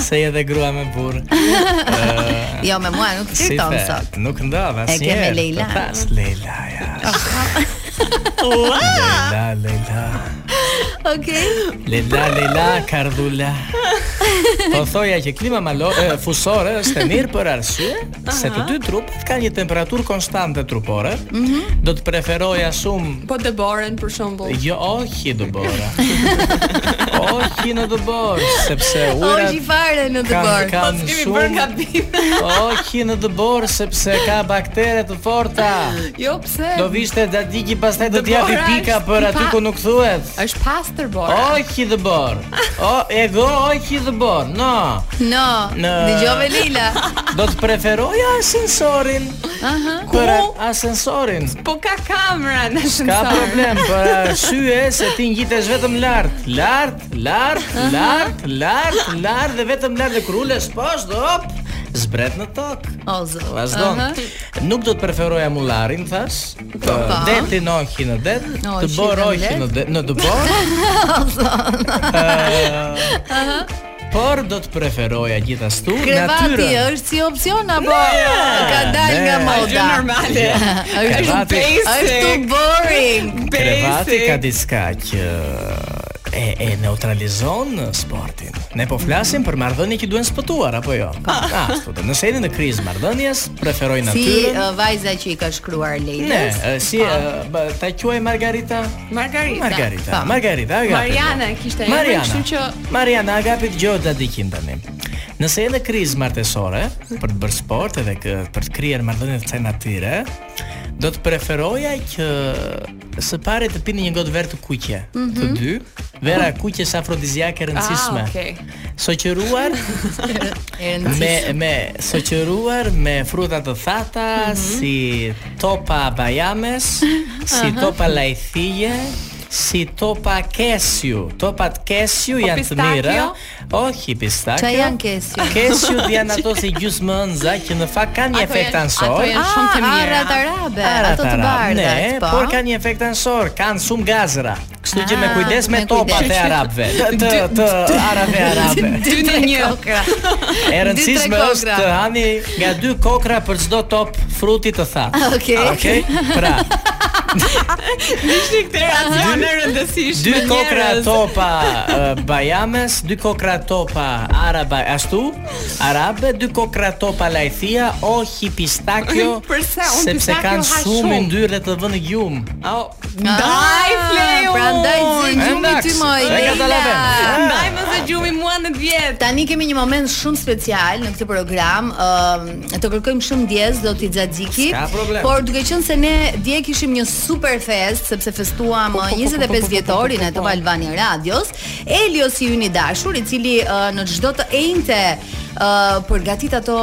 S8: Se je dhe grua me burr.
S7: Jo, me mua nuk
S8: Si
S7: flirton
S8: the,
S7: sot.
S8: Nuk
S7: E
S8: ndodh
S7: ke me
S8: asnjëherë.
S7: Leila.
S8: të thash, Leila. Ja. Leila, Leila.
S7: Okej.
S8: Leila, Leila, Kardula. Po thoja që klima malo, e, fusore është e mirë për arsye se të dy trupet kanë një temperaturë konstante trupore.
S7: Mhm.
S8: Do të preferoja shumë
S9: Po dëboren për shembull.
S8: Jo, ohi do bëra. ohi në do bërë, sepse ujrat
S7: Oshi fare në të
S8: kanë
S7: bërë.
S8: kanë
S9: Kemi bërë
S8: shumë
S9: gabim.
S8: ohi në të bërë, sepse ka baktere të forta.
S9: Jo, pse?
S8: Do vishte dadiki pastaj do t'japi
S9: Dëbora
S8: pika
S9: është
S8: për
S9: i
S8: aty
S9: pa-
S8: ku nuk thuhet.
S9: Është pastër bora.
S8: Ohi dhe bërë. O, e go, ohi dhe bërë. No.
S7: No,
S8: Në-
S7: dëgjove Lila.
S8: Do të preferoja ascensorin. Aha. Për
S9: Ku?
S8: ascensorin.
S9: Po ka kamera në
S8: Ka
S9: ascensor.
S8: problem për arsye se ti ngjitesh vetëm lart, lart, lart, lart, lart, lart dhe vetëm lart dhe kur ulesh poshtë, do, hop, zbret në tokë.
S7: O zot.
S8: Vazhdon.
S7: Aha.
S8: Nuk do të preferoja mullarin, thash. Të deti në ohi në det, të
S7: Ohi
S8: bor
S7: në
S8: ohi
S7: det.
S8: në det, në të bor. Ε, Ë, Por do të preferoja gjithashtu
S7: Krevati
S8: natyrën.
S7: është si opsion apo
S8: Ε,
S7: ka dalë nga
S9: Gjë
S8: Ne.
S7: moda?
S9: normale.
S7: Është
S8: Krevati-
S7: basic. Është too boring.
S8: Krevati
S9: Basic.
S8: ka diçka që e, e neutralizon sportin. Ne po flasim për marrëdhënie që duhen spëtuar apo jo? Ashtu. do. Nëse jeni në krizë marrëdhënies, preferoj
S7: Ah. Si
S8: natyrën.
S7: uh, Ah. vajza që i ka shkruar
S8: Ne,
S7: Leila.
S8: e, si e, ba- ta quaj Margarita?
S9: Margarita.
S8: Margarita.
S7: Pa.
S8: Margarita, Agapi.
S9: Mariana kishte emrin,
S8: Mariana.
S9: kështu që
S8: Mariana Agapi dëgjohet ta dikim tani. Nëse edhe krizë martesore për të bërë sport edhe kë, për të krijuar marrëdhënie të kësaj natyre, do të preferoja që së pari të pini një gotë verë të kuqe. Të dy, vera e kuqe është afrodiziake e rëndësishme.
S9: Mhm. Ah, okay.
S8: Soqëruar me me soqëruar me fruta të thata si topa bajames, si topa lajthije, si topa kesiu. Topat kesiu
S9: Po
S8: janë të mira.
S9: pistakio?
S8: Όχι pistakio.
S7: Qa janë kesiu?
S8: Kesiu janë ato si gjysmë ënza që në fakt kanë një
S9: Ato
S8: efekt
S9: janë-
S8: ansor.
S9: ato janë shumë të mira.
S7: Ah, Arrat arabe,
S8: Ara
S7: ato të
S8: tara.
S7: bardha,
S8: Ne,
S7: po.
S8: por kanë një efekt ansor, kanë shumë gazra. Kështu që me
S7: Ah,
S8: kujdes me
S7: me
S8: topat e
S7: kujdes.
S8: arabëve. Të të, të arabe arabe.
S9: Dy në një.
S8: E rëndësishme
S7: tre
S8: është
S7: kokra.
S8: të hani nga dy kokra për çdo top fruti të thatë.
S7: Okej.
S8: Okej. Pra,
S9: Ishte këtë racione rëndësishme.
S8: dy kokra
S9: njerëz.
S8: topa eh, bajames, dy kokra topa araba ashtu, arabe, dy kokra topa lajthia, ohi pistakio,
S9: Përse? Unë
S8: sepse
S9: pistakio
S8: kanë
S9: ha
S8: shumë
S9: shumë.
S8: yndyrë dhe të vënë gjumë.
S9: Au, ndaj fleu.
S7: Ah, Prandaj zën gjumi
S8: ndaks,
S7: ty moj.
S8: e katalave.
S7: Leila.
S9: Ah, Ndaj më zë gjumi mua në vjet.
S7: Tani kemi një moment shumë special në këtë program. Ëm të kërkojmë shumë ndjes do t'i xaxhiki.
S8: S'ka problem.
S7: Por duke qenë se ne dje kishim një super fest sepse festuam
S9: po, po, po, po, po, po,
S7: 25
S9: po, po, po, po.
S7: vjetorin e Top Albania Radios, Elios i yni dashur, i cili ë, në çdo të enjte ë përgatit ato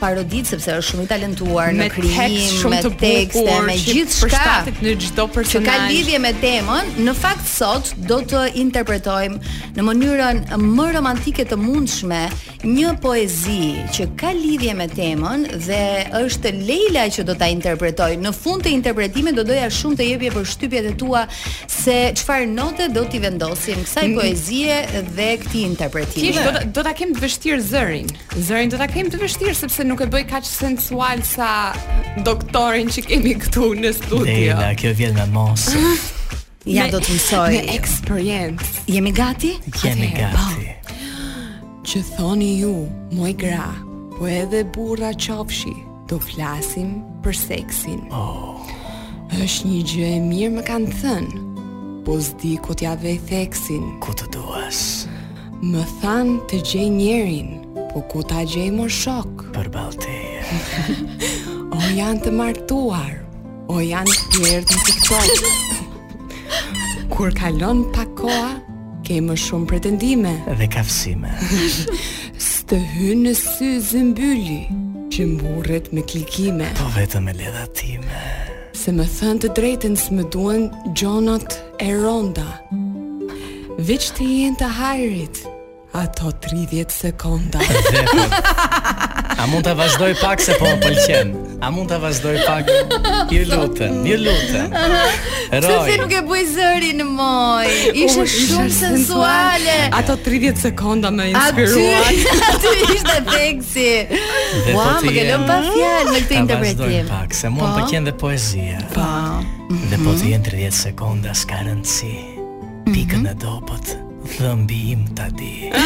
S7: parodit sepse është shumë i talentuar në krijim, me tekste, me
S9: që
S7: gjithçka
S9: përshtatet në çdo
S7: që ka
S9: personazh.
S7: lidhje me temën, në fakt sot do të interpretojmë në mënyrën më romantike të mundshme një poezi që ka lidhje me temën dhe është Leila që do ta interpretoj. Në fund të interpretimit do doja shumë të jepje për shtypjet e tua se çfarë note do t'i vendosim kësaj poezie dhe këtij interpretimi.
S9: Kish Mm. do ta- do ta kem të vështirë zërin. Zërin do ta kem të vështirë sepse nuk e bëj kaq sensual sa doktorin që kemi këtu në studio.
S8: Dela, kjo vjen me mos.
S7: Ja
S9: Me-
S7: do të mësoj.
S9: Me eksperiencë.
S7: Jemi gati?
S8: Jemi
S9: Atëherë,
S8: gati.
S9: Që thoni ju, moj gra, po edhe burra qofshi, do flasim për seksin. Oh. është një gjë e mirë më kanë thënë, po s'di ku t'ja vej theksin.
S8: Ku të duash
S9: Më thanë të gjej njerin, po ku ta gjej më shok.
S8: për balteje.
S9: O janë të martuar, o janë të pjerë në TikTok. Kur kalon pak koha, ke më shumë pretendime.
S8: Dhe kafsime.
S9: Stë hynë në sy zëmbylli, që mburret me klikime.
S8: Po vetëm me ledha time.
S9: Se më thënë të drejtën s'më duen gjonat e ronda Veç të jenë të hajrit Ato 30 sekonda
S8: Dhe po. A mund ta vazhdoj pak se po më pëlqen? A mund ta vazhdoj pak? Ju lutem, ju lutem. Roj.
S7: Sepse nuk e bëj zërin moj. Ishte
S9: U, isha
S7: shumë sensuale. Ah.
S9: Ato 30 sekonda më inspiruan
S7: Aty, aty ishte teksi.
S8: Dhe
S7: Ua,
S8: po ti
S7: më
S8: je-
S7: kalon pa fjalë me këtë
S8: Ta vazhdoj
S7: interpretim.
S8: pak se mua më pëlqen dhe poezia.
S7: Po. Mhm.
S8: Dhe po të jenë 30 sekonda s'ka rëndësi Pikën e dopët Dhëmbi im ta di
S7: Oh,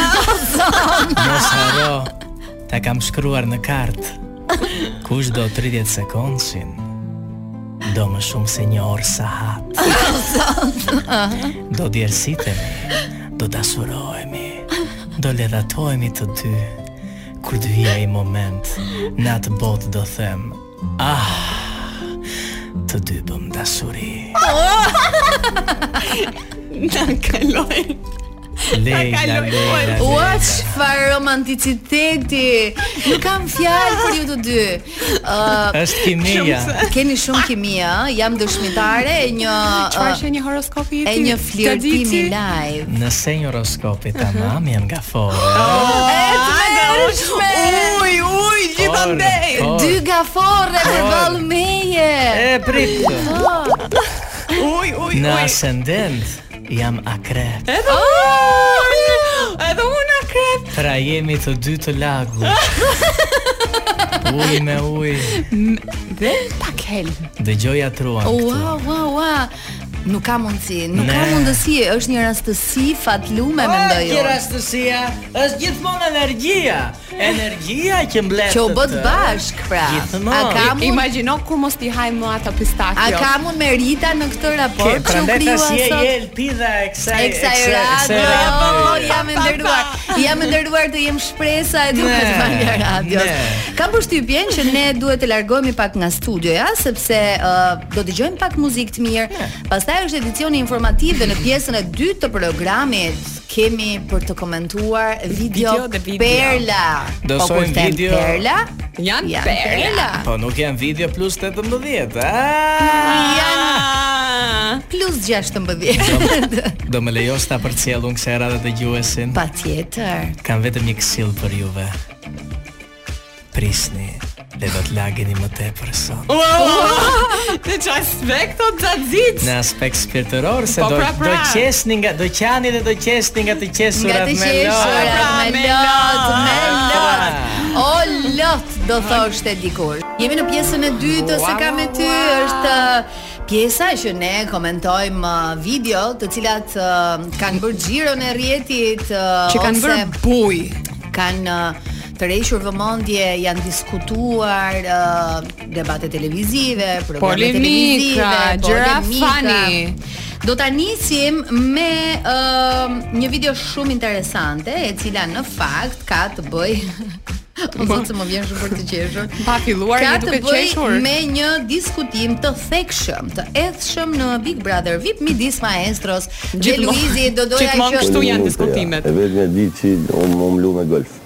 S8: Mos haro Ta kam shkruar në kart Kush do 30 sekondsin Do më shumë se një orë sa hat Do djersitemi Do dasurohemi Do ledhatohemi të dy Kur të vija i moment Në atë botë do them Ah Të dy bëm dasuri
S9: Na kaloj
S8: Leila,
S9: kaloj kohën.
S8: Leila,
S7: Ua,
S8: Leila.
S7: çfarë romanticiteti. Nuk kam fjalë për ju të dy. Ë,
S8: Është kimia.
S7: keni shumë kimi, ë? Jam dëshmitare e një
S9: Qfarë
S7: ë,
S9: që një horoskopi i ti?
S7: e një flirtimi
S9: la
S7: live.
S8: Në shenjë horoskopi tamam jam nga forë.
S9: Oh,
S7: Ah,
S9: Uj, uj, gjithandej
S8: Po.
S7: Dy gaforre për ballë meje.
S8: E prit.
S9: Uj, uj,
S8: Në
S9: uj
S8: ascendent jam akrep.
S9: Edhe
S7: Oh!
S9: unë Edhe unë akrep
S8: Pra jemi të dy të lagu. Uj me uj.
S9: Dhe pak helm
S8: Dëgjoja truan këtu.
S7: Ua, ua, ua. Nuk ka mundësi, nuk ka
S8: Ne.
S7: mundësi, është një rastësi fatlume mendoj
S8: Kjo
S7: unë.
S8: rastësia është gjithmonë energjia. Energjia që mblet.
S7: Që u
S8: të
S7: bët
S8: tërë.
S7: bashk pra.
S8: Gjithmonë.
S7: A ka mund
S9: Imagjino kur mos t'i haj më ata pistakio
S7: A ka mund me Rita në këtë
S8: Jo. Ke, pra
S7: raport që u
S8: prandaj
S7: krijuan
S8: tash je
S7: sot?
S8: je elpida e kësaj
S7: E kësaj
S8: e kësaj- e kësaj
S7: radio,
S8: radioje.
S7: jam e nderuar. Jam nderuar të jem shpresa e Duket
S8: Ne,
S7: Valja Radios.
S8: ne.
S7: Kam përshtypjen që ne duhet të largohemi pak nga studioja sepse uh, do dëgjojmë pak muzikë të mirë. Pastaj është edicioni informativ dhe në pjesën e dytë të programit kemi për të komentuar video,
S9: Video dhe video.
S7: perla.
S8: Do
S7: po kur
S8: sojmë
S7: them
S8: video-
S7: perla,
S9: Janë
S7: janë
S9: perla.
S7: perla.
S8: Po nuk janë video plus 18. Ah!
S9: Janë
S7: Plus 16.
S8: Do më lejo sta për cjellun kësera dhe të gjuesin.
S7: Patjetër.
S8: Kam vetëm një kësil për juve. Prisni dhe do të lageni më tepër sot.
S9: Të qaj svek të të zit
S8: Në aspekt spirtëror se
S9: Po,
S8: do
S9: pra, pra.
S8: do qesni nga do qani dhe do qesni nga të
S7: Nga
S8: qesurat
S7: të
S8: me
S7: qeshura,
S8: lojë.
S9: Pra,
S7: me
S9: me
S7: lot,
S9: lot. Ah.
S7: me lot O lot, do thoshte dikur Jemi në pjesën e dytë ose ka me ty është uh, pjesa që ne komentojmë uh, video të cilat uh, kanë bërë xhiron e rrjetit uh,
S9: Që kanë
S7: ose
S9: bërë buj
S7: kanë uh, tërhequr vëmendje, janë diskutuar uh, debate televizive, programe
S9: Polemika,
S7: televizive,
S9: gjëra
S7: polemika.
S9: funny.
S7: Do ta nisim me ë, një video shumë interesante, e cila në fakt ka të bëj O zot se më vjen shumë për të qeshur.
S9: Pa filluar,
S7: ka
S9: jemi
S7: të
S9: duke
S7: bëj
S9: qeshur.
S7: me një diskutim të thekshëm, të ethshëm në Big Brother VIP midis maestros dhe
S9: Gjithmonë-
S7: Luizi do doja
S9: gjithmonë
S7: që
S9: kështu janë diskutimet.
S10: E vetë një ditë që unë më mlu me golf.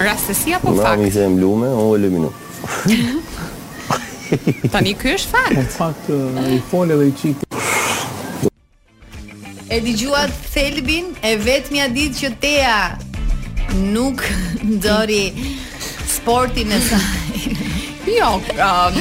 S9: Rastësi apo
S10: Në amin
S9: fakt?
S10: se e mlu me, unë eliminu.
S9: Tani ky është
S4: Në
S9: fakt.
S4: fakt, i fole dhe i qiti.
S7: E dëgjuat Thelbin e vetmja ditë që Tea nuk ndori sportin e saj.
S9: Jo, um,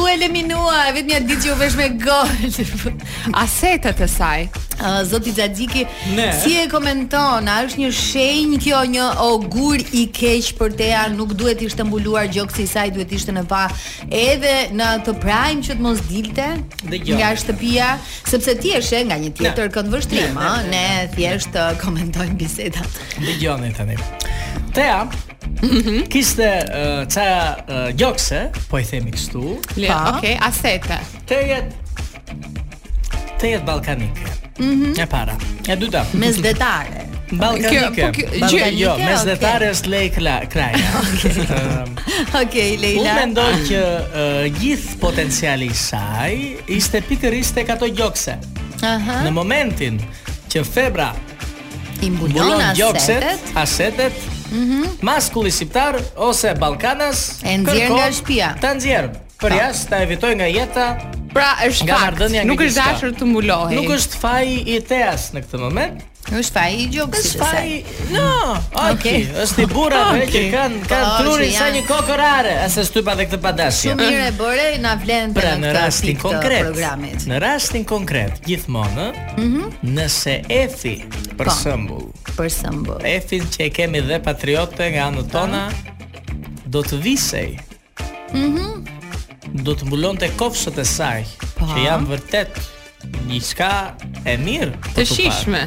S7: U eliminua e vetmja ditë që u vesh me gol.
S9: asetet e saj.
S7: Ë, Zoti Xhaxhiki,
S8: Ne.
S7: si e komenton? A është një shenjë kjo, një ogur i keq për Tea, nuk duhet ishte mbuluar gjoksi i saj, duhet ishte në pa edhe në atë prime që të mos dilte
S8: Dëgjoj.
S7: nga shtëpia, sepse ti e sheh nga një tjetër këndvështrim,
S8: Ne,
S7: ë,
S8: ne,
S7: ne thjesht ë, komentojmë bisedat.
S8: Dëgjoni tani. Tea
S7: Mhm.
S8: kiste uh, ca uh, gjokse, po i themi kështu,
S9: Le,
S7: Pa.
S9: okay, asete.
S8: Te jetë Te jetë balkanike
S7: Mhm.
S8: E para E dyta
S7: mesdetare.
S8: Balkanike
S9: Kjo- po kjo- gjë-
S8: Balkanike, Jo,
S7: Balkanike,
S8: mesdhetare është lej kla- kraja Ëm,
S7: Okej,
S8: Unë
S7: Leila.
S8: mendoj që ë, gjithë potenciali i saj Ishte pikërisht tek ato gjokse
S7: Aha.
S8: Në momentin që febra
S7: I mbulon
S8: Bulon gjokset
S7: asetet. Mhm.
S8: Asetet Maskulli shqiptar ose Balkanas
S7: E nxjerr
S8: kërkon
S7: nga shtëpia.
S8: Ta nxjerr Për jashtë ta evitoj nga jeta
S9: Pra është
S8: Nga
S9: fakt.
S8: marrëdhënia nga
S9: Nuk është
S8: gjithçka.
S9: dashur të mbulohej.
S7: e-
S8: Nuk është faji i Teas në këtë moment.
S7: Është faji i gjoksit
S8: Është
S7: të saj.
S8: faji. No, okay.
S7: Okej.
S8: Është i burrave që
S9: Okej.
S8: kanë kanë
S7: Po,
S8: trurin
S7: që
S8: sa
S7: janë-
S8: një kokorare, ase shtypa dhe këtë padashje.
S7: Shumë mirë e bëre, Jo, na vlen
S8: Pra
S7: për
S8: në rastin konkret,
S7: programit.
S8: në rastin konkret, gjithmonë, ëh, nëse Efi, për
S7: Po.
S8: shembull,
S7: Për shembull.
S8: Efin që e kemi dhe patriote nga anët tona, do të visej. Mhm. do të mbulonte kofshët e saj, që janë vërtet diçka e mirë për
S9: të
S8: parë.
S9: shishme.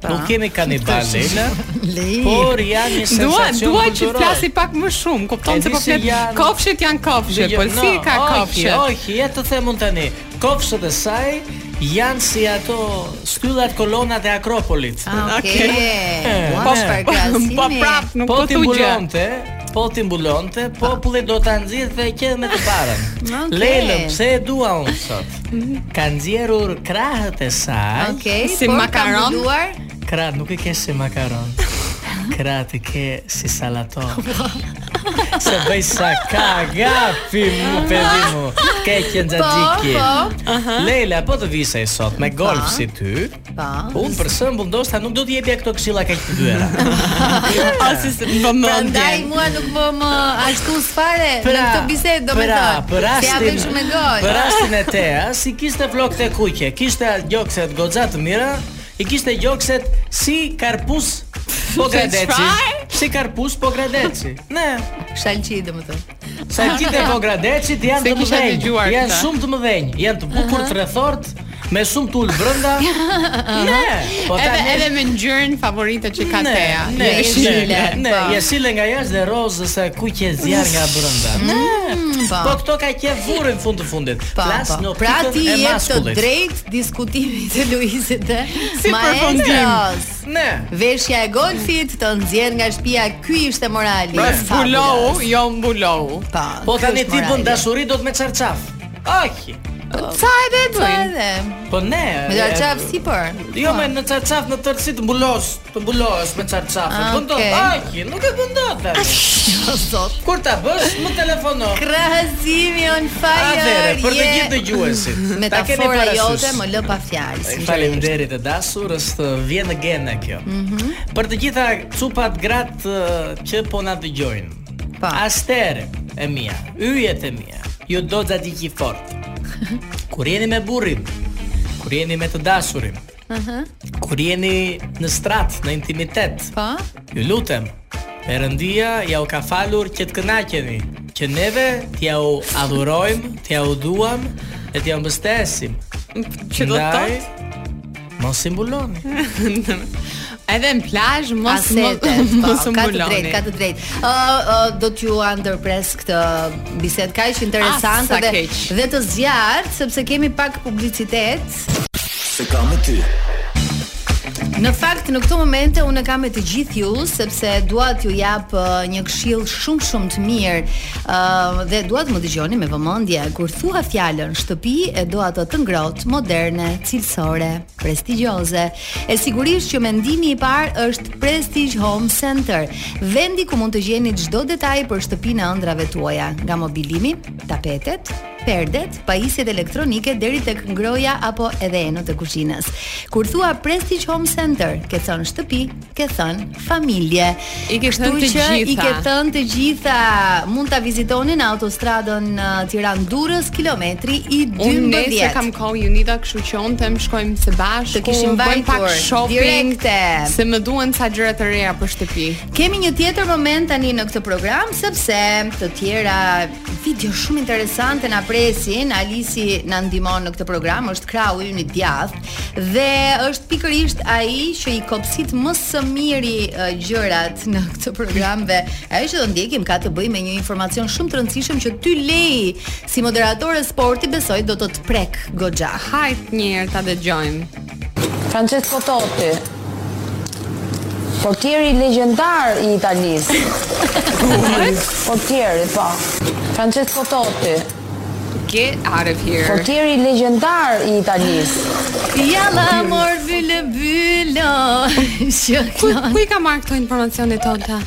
S8: Nuk kemi kanibal Leila,
S7: Leila.
S8: por janë një
S9: Dua,
S8: sensacion
S9: dua që
S8: kulturor.
S9: flasi pak më shumë, kupton
S8: E
S9: se
S8: di
S9: po
S8: se
S9: flet.
S8: janë-
S9: Kofshit janë kofshë,
S8: Dëgjoj,
S9: po
S8: no,
S9: si ka
S8: ohi,
S9: kofshë?
S8: Ohi, e të them unë tani, kofshët e saj janë si ato skyllat kolonat e Akropolit.
S7: Ah, Okej.
S8: Ε, Okej.
S7: Ua,
S8: Po,
S7: çfarë
S9: Po
S7: krahasimi.
S9: prap, nuk
S8: po
S9: po
S8: ti
S9: thu gjë.
S8: mbulonte, po ti mbulonte, populli do ta nxjerrë dhe që me të parën.
S7: Okej.
S8: Lelën, pse e dua unë sot? Ka nxjerrur krahët e saj.
S7: Okej,
S9: Si
S7: por ka
S9: makaron?
S7: mbuluar.
S8: Krat nuk e ke si makaron. Krat e ke si salaton.
S7: Po.
S8: Se bëj sa ka gapi mu pedi mu Ke që në gjadjiki
S7: Po,
S8: Lejla, po të vise e sot me golf si ty
S7: Po.
S8: Unë për shembull ndoshta nuk do t'jepja këto këshilla kaq të dyera
S9: Ose se po më
S7: Prandaj
S9: ndjen.
S7: mua nuk më më ashtu s'fare në këtë bisedë domethënë.
S8: Pra, për
S7: Se ja
S8: rastin, pra-
S7: bëj shumë e gol.
S8: Për rastin e teja, si kiste flokët e kuqe Kiste gjokset goxha të mira I kiste gjokset si karpus po
S9: Se
S8: gradeci
S9: çfarë?
S8: Si karpus po gradeci Ne,
S7: Shalqi domethënë.
S8: Sa e gjithë e Vogradecit janë
S9: Se
S8: të
S9: kisha
S8: mëdhenj.
S9: dëgjuar
S8: Janë
S9: këtë.
S8: shumë të mëdhenj, janë të bukur të rrethort me shumë tul brenda. ne. Po
S9: Edhe
S8: tani
S9: edhe me ngjyrën favorite që ka Tea.
S8: Ne,
S7: Je
S8: ne,
S7: shile,
S8: ne, ne,
S7: po.
S8: je sile nga jashtë dhe rozë sa kuq e zjarr nga brenda. Ne.
S7: po.
S8: Po këto ka qenë vurën fund të fundit.
S7: Pa,
S8: Flas
S7: pa.
S8: në
S7: pra ti
S8: pikën e
S7: jep të
S8: maskullit.
S7: drejt diskutimit të Luizit dhe
S9: Si përfundim.
S7: maestros.
S8: Ne.
S7: Veshja e golfit të nxjerr nga shtëpia, ky ishte morali.
S9: Pra
S7: Fabulous.
S9: zbulohu, jo mbulohu.
S7: Pa,
S8: Po
S7: ky
S8: tani
S7: është
S8: ti bën
S7: morali.
S8: dashuri do të me çarçaf. Aki.
S9: Sa edhe e
S7: Po
S9: bëjnë?
S7: edhe.
S8: Po ne.
S7: Me
S8: e-
S7: darçaf si për.
S8: Jo me në çarçaf në tërësi të mbulosh, të mbulosh me çarçaf.
S7: Ah,
S8: Bën dot.
S7: okay.
S8: Aki, nuk e bën dot. tani.
S7: Zot.
S8: Kur ta bësh, më telefono.
S7: Krahasimi on fire.
S8: Atëre, për të
S7: je-
S8: gjithë dëgjuesit. ta keni
S7: Metafora
S8: parasysh.
S7: jote më lë pa fjalë. sinqerisht.
S8: Faleminderit e dashur, është vjen në gene kjo.
S7: Mhm.
S8: Për të gjitha cupat gratë ë, që po na dëgjojnë.
S7: Po.
S8: Astere e mia, yjet e mia. Ju do ta di qi fort. Kur jeni me burrin, kur jeni me të dashurin,
S7: Mhm.
S8: kur jeni në strat, në intimitet,
S7: Po?
S8: ju lutem, Perëndia ja u ka falur që të kënaqeni, që neve t'ja u adhurojmë, t'ja u duam dhe t'ja mbështesim.
S9: Që do të
S8: Ndaj,
S9: thotë? Mm.
S8: Mos i mbuloni.
S9: Edhe në plazh mos mos
S7: Asete,
S9: mos
S7: po, ka të drejtë,
S9: mbuloni.
S7: ka të drejtë. Ë ë, do t'ju ndërpres këtë bisedë kaq interesante
S9: sa
S7: dhe
S9: keq.
S7: dhe të zjarrt sepse kemi pak publicitet.
S3: Se kam me ty.
S7: Në fakt në këto momente unë e kam me të gjithë ju sepse dua t'ju jap ë, një këshill shumë shumë të mirë ë dhe dua të më dëgjoni me vëmendje kur thua fjalën shtëpi e do atë të ngrohtë, moderne, cilësore, prestigjioze. E sigurisht që mendimi i parë është Prestige Home Center, vendi ku mund të gjeni çdo detaj për shtëpinë e ëndrave tuaja, nga mobilimi, tapetet, perdet, pajisjet elektronike deri tek ngroja apo edhe enët e kuzhinës. Kur thua Prestige Home Center, ke thënë shtëpi, ke thënë familje.
S9: I ke
S7: Kështu
S9: thënë të
S7: që I
S9: gjitha.
S7: ke thënë të gjitha. Mund ta vizitoni në autostradën eh, Tiranë-Durrës, kilometri i 12.
S9: Unë nesër kam kohë Unida, kështu që unë them shkojmë së bashku.
S7: Të kishim
S9: bëjmë pak
S7: vajtur,
S9: shopping
S7: direkte.
S9: Se më duhen sa gjëra të reja për shtëpi.
S7: Kemi një tjetër moment tani në këtë program sepse të tjera video shumë interesante na presin. Alisi na ndihmon në këtë program, është krau i një djathtë dhe është pikërisht ai që i kopsit më së miri eh, gjërat në këtë program dhe ajo që do ndjekim ka të bëjë me një informacion shumë të rëndësishëm që ty lei si moderator e sporti besoj do të të prek goxha.
S9: Hajt një herë ta dëgjojmë.
S1: Francesco Totti. Portieri legjendar i Italisë. Portieri, po. Francesco Totti.
S9: Get out of here.
S1: Portieri legjendar i Italisë.
S7: Jalla mor byle bylo.
S9: Ku
S7: Shokno.
S9: ku i ka marrë këto informacione tonta?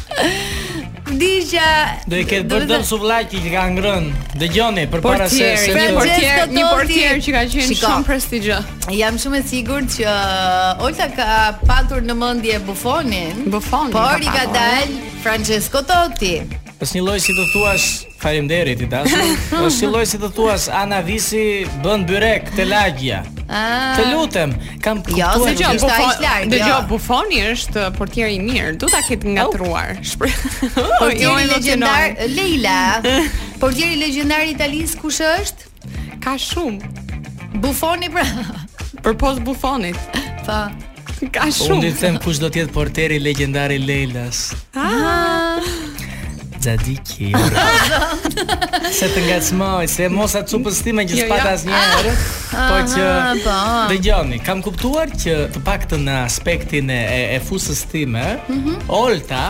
S7: Digja.
S8: Do i ketë bërë
S7: do të
S8: dëm suvllaqi që ka ngrënë. Dëgjoni përpara se
S9: Portieri,
S8: se
S9: një
S7: Francesco
S9: portier, një
S7: Totti.
S9: portier që ka qenë
S7: Shiko.
S9: shumë prestigjë.
S7: Jam shumë e sigurt që uh, Olta ka patur në mendje Buffonin.
S9: Buffonin
S7: Por
S9: ka
S7: i ka
S9: patur. Po,
S7: dalë Francesco Totti.
S8: Është një lloj si të thuash faleminderit i dashur. Është një lloj si të thuash Ana Visi bën byrek te lagja.
S7: Ah.
S8: Të lutem, kam
S9: Jo,
S7: se
S8: kuptuar.
S9: Dëgjoj,
S7: Ishte ai i lartë,
S9: Buffon, dëgjoj,
S7: jo.
S9: Buffoni është uh, portier i mirë. Du ta ketë ngatruar. Shpreh. Jo,
S7: Oh. Portieri
S9: legjendar.
S7: legjendar Leila. Portieri legjendar i Italisë kush është?
S9: Ka shumë.
S7: Buffoni pra.
S9: Përpos Buffonit.
S7: Po.
S9: Ka
S8: Unë di
S9: shumë.
S8: të them kush do të jetë porteri legjendar i Leilas.
S9: Ah.
S8: Zadiki. se të ngacmoj, se mos atë cupës time që
S9: Jo,
S8: s'pat
S9: jo. Ah,
S8: asnjëherë, po që
S7: Aha, po.
S8: dëgjoni, kam kuptuar që të paktën në aspektin e, e, e fusës time, Olta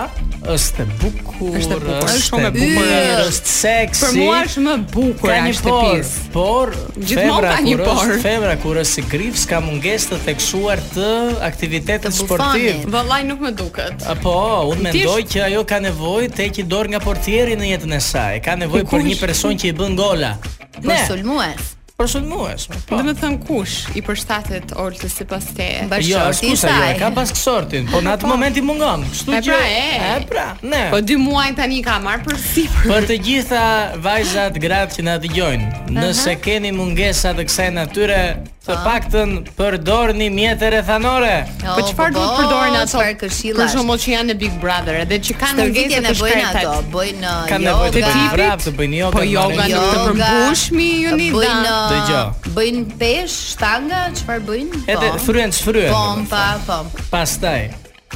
S8: është e bukur,
S9: Mhm. Është e bukur, shumë e
S8: bukur,
S7: bukur.
S8: është seksi.
S9: Për mua është më bukur
S8: Ka
S9: a
S8: një por,
S9: shtëpis.
S8: por
S9: Gjithmonë
S8: femra
S9: ka një
S8: kur
S9: por.
S8: është- Femra kur është si grifs ka mungesë të theksuar të aktivitetit
S7: Të
S8: sportiv.
S7: bufanit.
S9: Vallaj nuk më duket.
S8: A, Po, unë
S9: Ti
S8: mendoj
S9: është-
S8: që ajo ka nevojë të heqë dorë nga portieri në jetën e saj. Ka nevojë për një person që i bën gola.
S9: Po,
S8: Ne,
S7: Për po sulmues.
S8: për sulmues. Po.
S9: Do të thënë kush i përshtatet Oltës sipas teje?
S8: Jo,
S7: Bashorti i
S8: skusa jo, e
S7: saj.
S8: ka pas kësortin, po në atë moment i mungon. Kështu
S9: E
S8: që
S9: pra, e.
S8: e pra, ne.
S9: Po dy muaj tani ka marrë për sipër.
S8: Për të gjitha vajzat gratë që na dëgjojnë, nëse keni mungesa të kësaj natyre, Të
S9: Ah.
S8: paktën përdorni mjetet rethanore.
S7: Jo,
S9: Po çfarë
S7: po,
S9: duhet
S7: po,
S9: përdorin ato?
S7: Çfarë këshilla?
S9: Për shembull që janë në Big Brother, edhe që kanë
S7: Stërvitje
S9: ngjitë
S7: ne
S9: të
S7: bëjnë
S9: shkretat.
S7: ato, bëjnë uh,
S8: Kanë
S7: yoga,
S8: nevojë të bëjnë
S9: Ah, tipit?
S8: vrap, të bëjnë yoga.
S9: Po yoga
S8: marrin-
S9: nuk të
S7: yoga,
S9: përmbushmi,
S7: të
S9: Jonida.
S7: Bëjnë uh,
S8: Dëgjo.
S7: bëjnë pesh, shtanga, çfarë bëjnë?
S8: Edhe
S7: Po.
S8: fryen çfryen.
S7: Pompa, po.
S8: Pastaj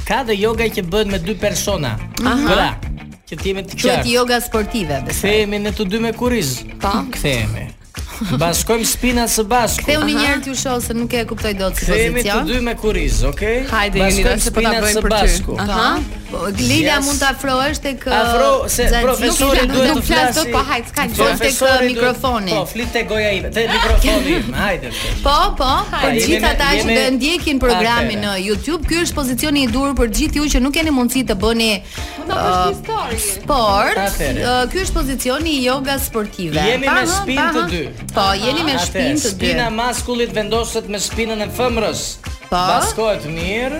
S8: ka dhe yoga që bëhet me dy persona. Bra. Që ti jemi të
S7: Quhet
S8: qartë.
S7: yoga sportive besoj.
S8: Kthehemi në të dy me kuriz.
S9: Po.
S8: Kthehemi. Bashkojmë spinat së bashku.
S7: Ktheu një herë ti u shoh se nuk e kuptoj dot si
S8: Kthehemi të
S7: pozicion.
S8: dy me kuriz, okay?
S9: Hajde,
S8: Bashkojmë
S9: Jonida, se po ta
S8: spinat
S9: bëjmë
S8: së
S9: për
S8: bashku.
S9: ty. Aha.
S7: Po, Lila
S8: Yes.
S7: mund të afrohesh tek uh,
S8: Afro se
S7: Xhaxhi.
S8: profesori
S9: nuk-
S8: duhet
S9: nuk
S8: të
S9: flas
S8: flasë.
S9: dot, po hajtë, s'ka gjë.
S7: Fol tek, uh, mikrofoni.
S8: Po, flit tek goja ime, te mikrofoni im. Hajde.
S7: Po, po, për
S8: jemi
S7: gjithë
S8: në-
S7: ata që
S8: jemi
S7: do e ndjekin programin në
S8: atëre.
S7: YouTube, ky është pozicioni i dur për gjithë ju që nuk keni mundësi të bëni uh, sport.
S8: Atëre.
S7: Uh, Ky është pozicioni i yoga sportive.
S8: Jemi
S7: Pa
S8: me
S7: hën,
S8: shpinë
S7: pa
S8: të
S7: hën.
S8: dy.
S7: Po, jeni me
S8: Atë,
S7: shpinë të dy.
S8: Spina maskullit vendoset me spinën e femrës.
S7: Po. Mhm.
S8: Baskohet mirë.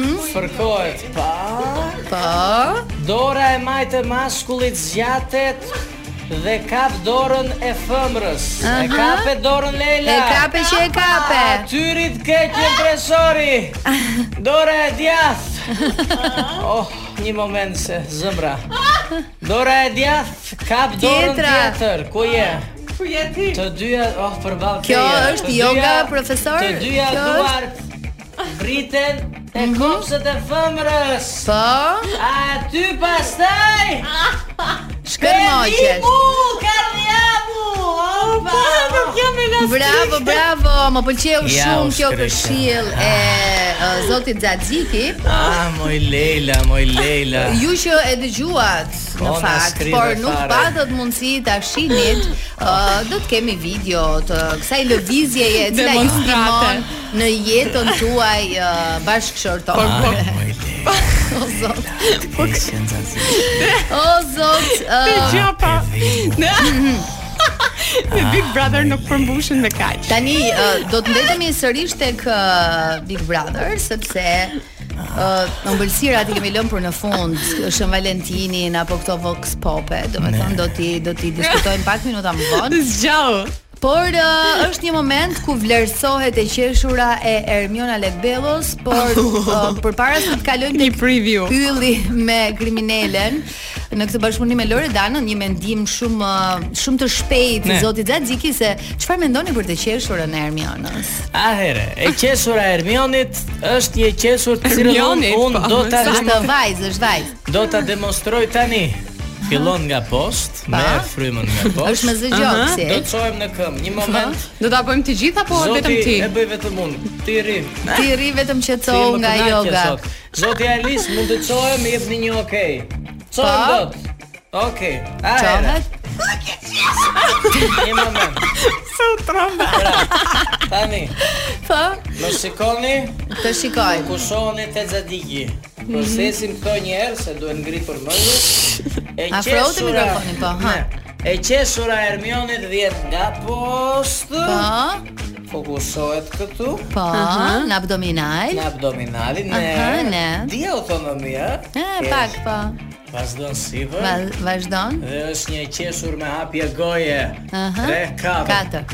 S8: Fërkohet pa.
S7: Po.
S8: Dora e majtë e maskullit zgjatet dhe kap dorën e femrës. E
S7: Aha.
S8: kape dorën Leila.
S7: E kape që e kape.
S8: Tyrit keq e presori Dora e djath Oh, një moment se zëmbra Dora e djath Kap dorën
S7: Tjetra.
S8: tjetër Ku je? Ku je ti? Të dyja, oh, për balë
S7: Kjo është yoga, profesor?
S8: Të dyja
S7: Kjo Mhm.
S8: duart Briten E kopsët e fëmërës
S7: Po.
S8: A ty pastaj
S7: Shkërmoqesh.
S8: Kardiamu Opa Nuk jam e
S7: Bravo, bravo. Më pëlqeu
S8: Ja,
S7: shumë
S8: u
S7: kjo
S8: shkreta.
S7: këshill e uh, zotit Xhaxhiki.
S8: Ah, moj Leila, moj Leila
S7: Ju që e dëgjuat në
S8: Ona
S7: fakt,
S8: skrive
S7: por nuk
S8: fare.
S7: patët mundësi ta shinit, ë, do të kemi video të kësaj lëvizjeje e cila ju
S9: Demonstrate.
S7: ndihmon në jetën tuaj uh, bashkëshortore.
S8: Moj Leila
S7: O zot,
S8: Ke sensacion
S7: o zot, uh, ë,
S9: Gjapa. Me Big Brother nuk përmbushin me kaq.
S7: tani ë, do të mbetemi sërish tek ë, Big Brother sepse Uh, në mbëlsirat i kemi lënë për në fund Shën Valentinin apo këto vox pope Do me thënë do t'i, do t'i diskutojmë pak minuta më vonë
S9: Zgjau.
S7: Por ë, është një moment ku vlerësohet e qeshura e Ermiona Lekbellos, por ë, përpara se të kalojmë
S9: Një
S7: tek
S9: preview.
S7: pylli me kriminelen në këtë bashkëpunim me Loredanën, një mendim shumë ë, shumë të shpejtë i
S8: Ne.
S7: zotit Xhaxhiki se çfarë mendoni për të qeshurën e Ermionës?
S8: Ahere, e qesura e Ermionit është një qesur të cilën unë
S9: Ermionit,
S8: un
S9: po,
S8: do ta
S7: Është
S8: demo-
S7: vajzë, është vajzë.
S8: do ta demonstroj tani. Fillon nga post, me frymën nga post.
S7: Është me zë gjoksi.
S8: Do të çohem në këmbë. Një moment.
S9: Do ta bëjmë të gjithë
S7: Po,
S9: apo vetëm
S8: Zoti
S9: ti?
S8: e bëj vetëm unë. Ti rri.
S7: Ti rri vetëm
S8: Ti
S7: qetësohu
S8: më
S7: nga
S8: kënaqe
S7: yoga.
S8: sot. Zoti Alis mund të çohem, më jepni një okay. Çohem
S7: Po.
S8: dot. Okej. Ahere.
S7: Çohet?
S8: Një moment. Pra,
S9: Sa u tromba.
S8: Tani,
S7: Po,
S8: më shikoni.
S7: të shikoj.
S8: Kushoni te xadigi. Procesin këto një herë se duhet ngritur mendja. E
S7: Afrohu te mikrofonin, po, ha.
S8: E qeshura e Hermionit 10 nga post.
S7: Po,
S8: Fokusohet këtu
S7: po, në abdominal.
S8: në abdominalin në
S7: Aha, ne.
S8: di autonomia.
S7: E,
S8: Ke-
S7: pak, po.
S8: Vazhdon sipër.
S7: Va- Vazhdon?
S8: Dhe është një qeshur me hapje goje.
S7: Aha.
S8: 4.
S7: Katër.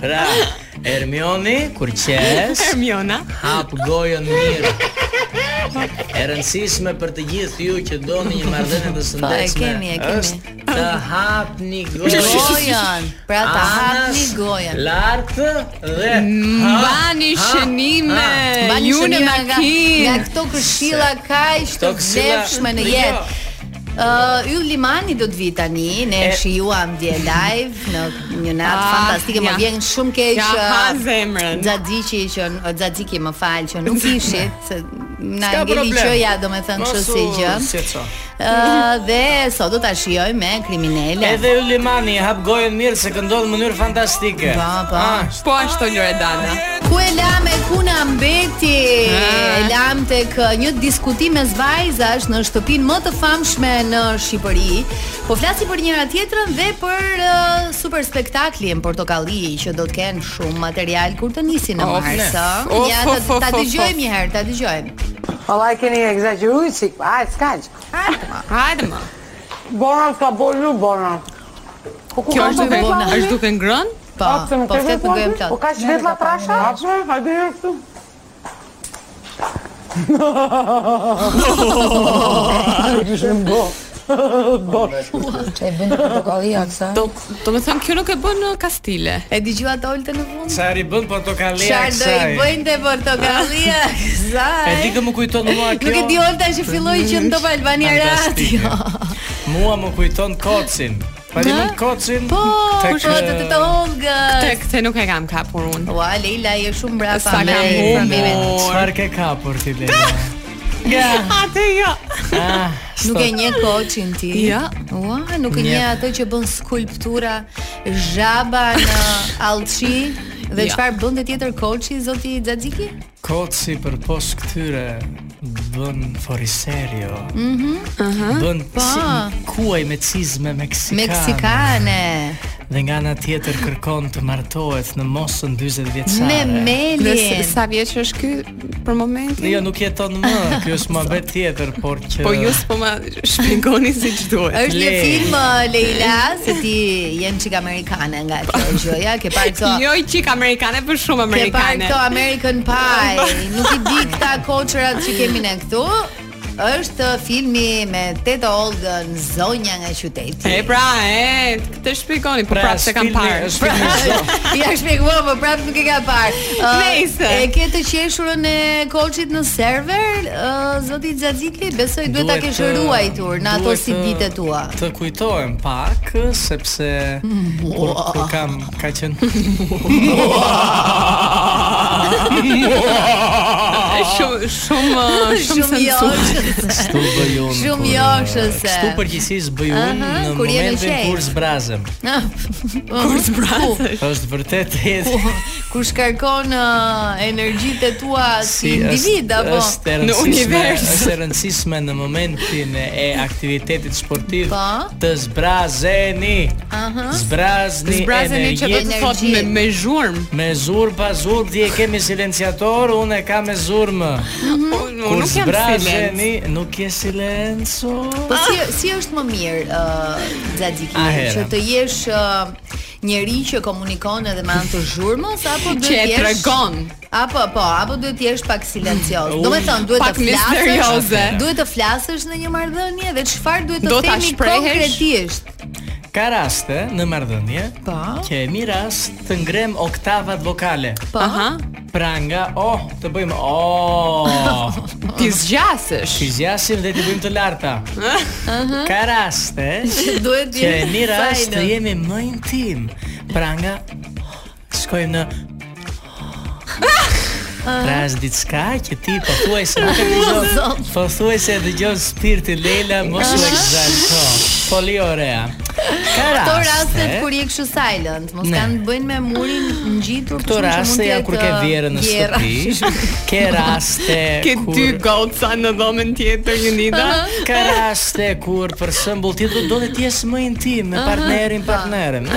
S8: Pra, Hermioni kur qesh
S9: Hermiona.
S8: hap gojën mirë. E rëndësishme për të gjithë ju që doni një marrëdhënie të
S7: Po, e
S8: shëndetshme.
S7: kemi, e kemi.
S8: Është të hapni
S7: Gojën.
S8: gojën.
S7: Pra ta hapni
S8: Anas,
S7: gojën.
S8: Lart dhe
S9: Mbani
S8: ha,
S9: shënime.
S8: ha.
S7: Mbani
S9: Ju në
S7: shënime nga, nga
S9: makinë.
S7: këto këshilla kaq të
S8: Këto këshilla-
S7: vlefshme në
S8: Jo.
S7: jetë. Uh, Yll Limani do të vi tani, ne e
S8: E-
S7: shijuam dje live në një natë
S9: Ah,
S7: fantastike, më
S9: ja.
S7: vjen shumë keq.
S9: Ja
S7: ë,
S9: ha zemrën.
S7: Xhaxhiqi që Xhaxhiki më fal që nuk ishit, se na
S8: S'ka
S7: ngeli
S8: problem.
S7: qëja domethënë kështu si gjë.
S8: Si ço.
S7: Ë, dhe sot do ta shijoj me kriminale.
S8: Edhe Ylimani hap gojën mirë se këndon në mënyrë fantastike.
S7: Po, po.
S8: Ah,
S9: Po ashtu Loredana.
S7: Ku e la me kuna mbeti?
S8: Ah.
S7: E lam tek uh, një diskutim mes vajzash në shtëpinë më të famshme në Shqipëri. Po flasi për njëra tjetrën dhe për uh, super spektaklin Portokalli që do të kenë shumë material kur të nisi
S8: Oh,
S7: në
S9: Of,
S7: mars.
S9: ne.
S7: ë?
S9: Of,
S7: Ja
S9: of,
S7: ta,
S9: of,
S7: ta
S9: of,
S7: dëgjojmë një herë, ta dëgjojmë.
S2: Allah e keni egzageruar sik. Ai s'ka. gjë.
S9: Hajde më.
S2: Bona ka bolu bona. Po ku
S9: Kjo
S2: ka
S9: është
S2: të
S9: duke
S7: bona.
S2: vëlla?
S9: është duke ngrënë?
S7: Po, po flet me gojën plot.
S2: Po ka shvetlla trasha?
S4: Hapë, hajde herë këtu. Kishë në bo. Bosh.
S11: Çe bën protokollia kësaj?
S9: Do, do me thënë, kjo nuk e bën në Kastile.
S7: E dëgjua Oltën në fund?
S8: Çfarë i bën portokallia
S7: Çfarë do i
S8: kësaj?
S7: bëjnë te portokallia
S8: E di
S7: kësaj?
S8: kë më kujton mua kjo.
S7: Nuk e di Olta që filloi që në Top Albania
S8: Fantastike.
S7: Radio.
S8: Mua më kujton kocin. Pa di mund kocin.
S7: Po,
S8: tek,
S7: po të të
S9: Te
S7: tolgës.
S9: këtë nuk e kam kapur unë.
S7: Ua, Leila je shumë brapa
S9: Sa
S7: me
S9: kam
S7: familjen.
S9: humor.
S8: Çfarë ke kapur ti
S9: pra.
S8: Lena?
S9: Ate jo.
S8: Ah,
S7: Nuk e
S8: stop.
S7: nje koçin ti.
S9: Ja.
S7: Ua, nuk e
S8: Nje.
S7: nje atë që bën skulptura zhaba në Allçi dhe
S9: Ja.
S7: çfarë bënte tjetër koçi zoti Xhaxhiki?
S8: Koci për pos këtyre bën foriserio. Mhm. Bën
S7: Pa.
S8: ci- kuaj me cizme
S7: Po.
S8: meksikane.
S7: Meksikane.
S8: Dhe nga ana tjetër kërkon të martohet në mosën 40 vjeçare.
S7: Me melin.
S9: Sa vjeç është ky për momentin?
S8: Jo, nuk jeton më. Ky është më vetë tjetër, por që
S9: Po ju s'po ma shpjegoni siç duhet.
S7: Është një
S8: Le.
S7: film uh, Leila se ti jenë çik amerikane nga kjo gjë, ja ke parë këto
S9: Jo i qik amerikane, për shumë
S7: Ke parë
S9: amerikane.
S7: këto American Pie. Nuk i di këta koçrat që kemi ne këtu. Është filmi me Teta Olgën, zonja nga qyteti.
S9: E pra, e, këtë shpjegoni, po prapë se kam
S8: s'filmi-
S9: parë.
S8: është filmi i zot.
S7: ja shpjegova, po prapë nuk e ka parë. Ë,
S9: Nejse.
S7: E ke të qeshurën e koçit në server, ë, zoti Xhaxhikli, besoj duhet ta
S8: Duhet,
S7: kesh
S8: ë,
S7: ruajtur në ato
S8: duhet,
S7: si
S8: ë,
S7: ditët tua.
S8: Të kujtohem pak sepse kur, kur kam ka qenë
S9: Është shumë shumë shumë jo.
S7: Shumë
S9: sensuar.
S7: joshës.
S8: Kështu bëj unë.
S7: Shumë
S8: kur,
S7: joshëse.
S8: Kështu përgjithsisht bëj unë
S7: Aha,
S8: në
S7: kur je me
S8: momentin
S7: qejf.
S8: kur zbrazem.
S7: Kur
S9: Pra,
S7: zbrazesh.
S8: Është vërtet jetë
S7: Kur shkarkon ë, energjitë e tua si individ
S8: është-
S7: apo
S8: është e rëndësishme-
S9: univers.
S8: Është e rëndësishme në momentin e aktivitetit sportiv
S7: Po.
S8: të zbrazeni. Aha. Zbrazni,
S9: Zbrazeni që do
S8: energjet.
S9: të thotë me me zhurmë.
S8: Me zurb, pa zurb, ti e kemi silenciator, unë e kam me zurmë.
S9: Po, Unë unë nuk jam silent.
S8: zbrazeni, nuk je silenco.
S7: Po
S9: Ah,
S7: si si është më mirë ë Xhaxhiki
S8: Ahere.
S7: që të jesh uh, njëri që komunikon edhe me anë të zhurmës apo duhet
S9: Që e
S7: të jesh
S9: tregon.
S7: Apo po, apo duhet të jesh pak silencios. Domethënë duhet
S9: pak
S7: të flasësh.
S9: misterioze.
S7: Duhet të flasësh në një marrëdhënie dhe çfarë duhet të
S9: Do ta
S7: themi
S9: shprehesh?
S7: konkretisht?
S8: Ka raste në marrëdhënie
S7: Po.
S8: që e mi rast të ngrem oktavat vokale.
S7: Po.
S9: Aha.
S8: Pra nga oh, të bëjmë oh.
S9: Ti zgjasesh.
S8: Ti zgjasim dhe ti bëjmë të larta. Ka raste
S7: Duhet të
S8: që e
S7: jesh
S8: mi rast të
S7: silent.
S8: jemi më intim. Pra nga shkojmë në Pra është diçka që ti po thuaj se nuk e dëgjon Po thuaj se e dëgjon spirti Lela Mos u egzalto Po li orea Ka
S7: Këto
S8: raste
S7: rastet kur je kështu silent, mos
S8: Ne.
S7: kanë të bëjnë me murin ngjitur
S8: Këto raste janë kur ke vjerë
S7: uh,
S8: në shtëpi Ke raste
S9: Ke
S8: kur
S9: dy goca në dhomën tjetër një nida.
S8: Ka raste kur për shembull ti do do të jesh më intim me partnerin, partneren.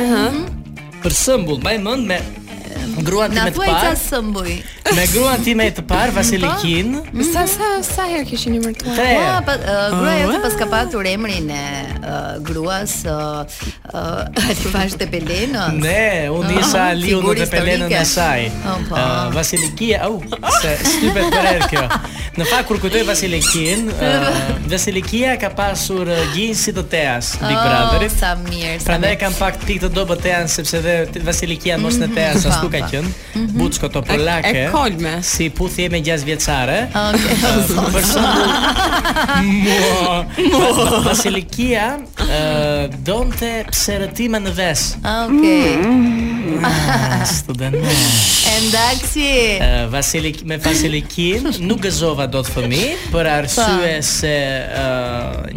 S8: Për shembull, mbaj mend me gruan
S7: Na
S8: time të
S7: thuaj ca
S8: parë,
S7: sëmbuj.
S8: me gruan time të parë Vasilikin,
S9: Sa sa sa herë kishin një mërtuar?
S8: tre.
S7: Ua, Po. pa, uh, gruaja jote pas ka patur emrin e uh, gruas uh, uh, Alifash të Pelenës.
S8: Ne, unë isha
S7: Ah,
S8: Aliu
S7: figurë
S8: në Pelenën
S7: historike.
S8: e saj.
S7: Ah, po.
S8: Ë, Vasilikia, au, se shtypet për herë kjo. Në fakt kur kujtoj Vasilikin, ë, Vasilikia ka pasur ë, gjinjë si të Teas Big
S7: Oh,
S8: Brotherit.
S7: Sa mirë, sa
S8: Prandaj
S7: mirë.
S8: kam pak pikë të dobët të janë sepse dhe t- Vasilikia mos në të janë ashtu ka
S7: pa.
S8: qenë. Buçko to polake.
S9: E- e kolme.
S8: Si puthje me 6 vjeçare.
S7: Okej.
S8: Ë, Për shembull, Vasilikia ë, donte pserëtime në ves.
S7: Okej.
S8: Mm. Ah, Student.
S7: E ndaksi.
S8: Ë, Vasilik me Vasilikin nuk gëzova dot fëmijë për arsye se ë,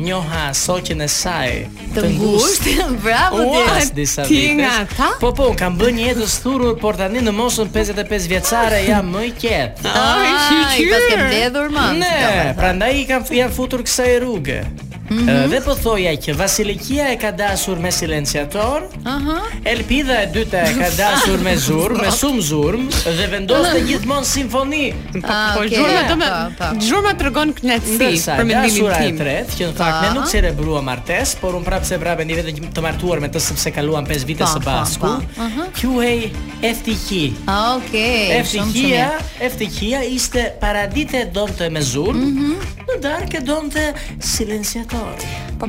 S8: njoha shoqen e saj
S7: Të ngushtë. Bravo
S8: Ua,
S7: ti.
S8: pas disa
S9: ti
S8: vitesh.
S9: nga ata?
S8: Po po, kam bërë një jetë të thurur, por tani në moshën 55 vjeçare jam më i qet.
S7: Ai,
S9: qyqyr.
S7: pas Ah, ke mbledhur më.
S8: Ne, prandaj i kam janë futur kësaj rruge.
S7: Mhm.
S8: Ë, Dhe po thoja që Vasilikia e ka dashur me silenciator,
S7: Aha.
S8: Elpida e dyta e ka dashur me zurm, me sum zurm dhe vendoste gjithmonë simfoni.
S7: Ah,
S12: Po
S7: okay,
S12: gjurma do me
S7: po, po.
S12: gjurma tregon kënaqësi
S8: Ndërsa
S12: për mendimin
S8: dashura e
S12: tim.
S8: tretë, që në fakt ne
S7: Pa.
S8: nuk celebrua martesë, por un prapë se prapë një vetëm të martuar me të sepse kaluan 5 vite
S7: Pa,
S8: së
S7: pa,
S8: bashku.
S7: pa. Aha.
S8: Quhej FTQ.
S7: Ah, Okej, shumë shumë
S8: FTQ-ja,
S7: mirë.
S8: FTQ-ja ishte paradite e donte me zurm, në darkë e donte silenciator.
S7: Po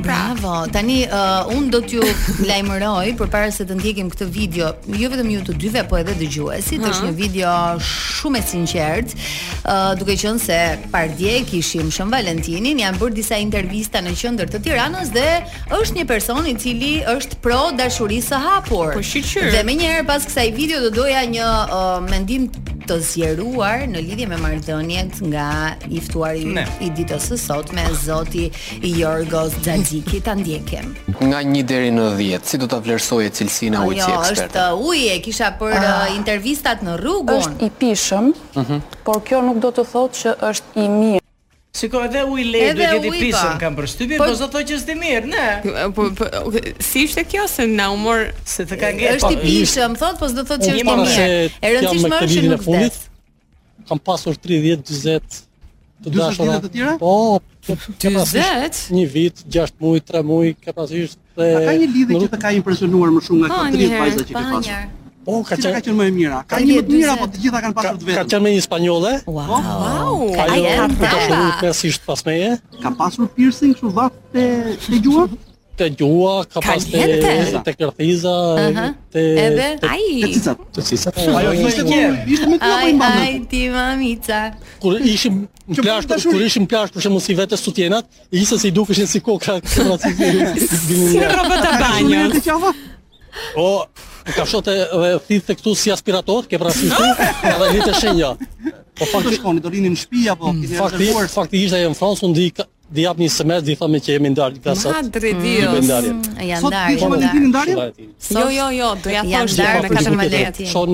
S9: pra,
S12: pra,
S7: bravo. Tani uh, un do t'ju lajmëroj përpara se të ndjekim këtë video, jo vetëm ju të dyve, po edhe dëgjuesit. Është një video shumë e sinqert, uh, duke qenë se pardje kishim Shën Valentinin, janë bërë disa intervista në qendër të Tiranës dhe është një person i cili është pro dashurisë së hapur.
S12: Po, shqyr.
S7: Dhe menjëherë pas kësaj video do doja një uh, mendim të zjeruar në lidhje me marrëdhëniet nga i ftuari
S8: Ne.
S7: i ditës së sotme zoti Jorgos Xhaxhiki ta ndjekim.
S13: Nga 1 deri në 10, si do ta vlerësoje cilësinë e ujit si
S7: jo,
S13: ekspert?
S7: është uh, uji e kisha për uh, intervistat në rrugun.
S14: Është i pishëm,
S7: Mhm.
S14: por kjo nuk do të thotë që është i mirë.
S8: Shiko, edhe uji lej
S14: Edhe
S8: duhet jeti
S14: uji,
S8: pisën
S14: pa.
S8: kam përshtypjen,
S14: Po-
S8: po zot thotë që s'ti mirë, ne.
S12: Po, po ok, si ishte kjo se na u mor
S8: se të
S12: ka
S8: ngrejt,
S7: Është i pishëm, thot, po s'do thotë që
S12: Unë
S7: është i
S12: para
S7: mirë.
S12: se
S7: E rëndësishme është që nuk vdes.
S15: Kam pasur 30, 40 të
S16: 40
S15: dashura.
S16: të tjera?
S15: Po, po, ka pasur
S12: 1
S15: vit, 6 muaj, 3 muaj, ka pasur dhe
S16: A ka një lidhje që të ka impresionuar më
S12: Po,
S16: shumë nga këto 30 vajza që ke pasur?
S15: Po, ka
S16: Cila
S15: qenë
S16: ka qenë më e mira? Ka një më të mira apo të gjitha kanë pasur të
S15: Ka
S16: vetën?
S15: qenë me një spanjolle.
S7: Wow.
S16: Ah. Ka jo
S15: Ajo
S16: qenë
S15: ka
S16: brava.
S15: dashur pesisht pas meje.
S16: Ka pasur piercing kështu vat te te gjua?
S15: Te gjua, ka pas te
S16: Kalente.
S15: te kërthiza,
S7: Aha.
S15: te
S7: Edhe?
S15: te-
S7: Ai.
S15: te cicat. Te cicat.
S16: Ajo ishte ku- ishte me
S7: Ai, ai, ti mamica.
S15: kur ishim në plazh, kur ishim në plazh për shembull si vetë studienat, ishte si dukeshin si kokra këto si
S12: Si robot e banjës.
S15: O, e ka shote dhe thithë këtu si aspirator, ke parasysh tu, edhe litë shenja. Po Mm,
S16: Ku do shkoni? Do rinin në shtëpi apo keni
S15: fakti,
S16: rezervuar?
S15: fakti ishte ajo në Francë, unë di ka- di jap një SMS, di thamë që jemi ndarë klasat.
S12: Madre
S16: Mm.
S15: Di
S12: Dios.
S15: bëjmë ndarje.
S7: Janë
S12: Sot
S7: ndarë,
S12: kishim
S7: janë
S12: Valentinin
S7: ndarë.
S12: Jo, jo, jo, doja
S7: Janë
S12: thosh
S7: ndarë
S12: që me
S7: me
S12: katër
S7: katër
S12: valet.
S7: Valentin.
S15: Shon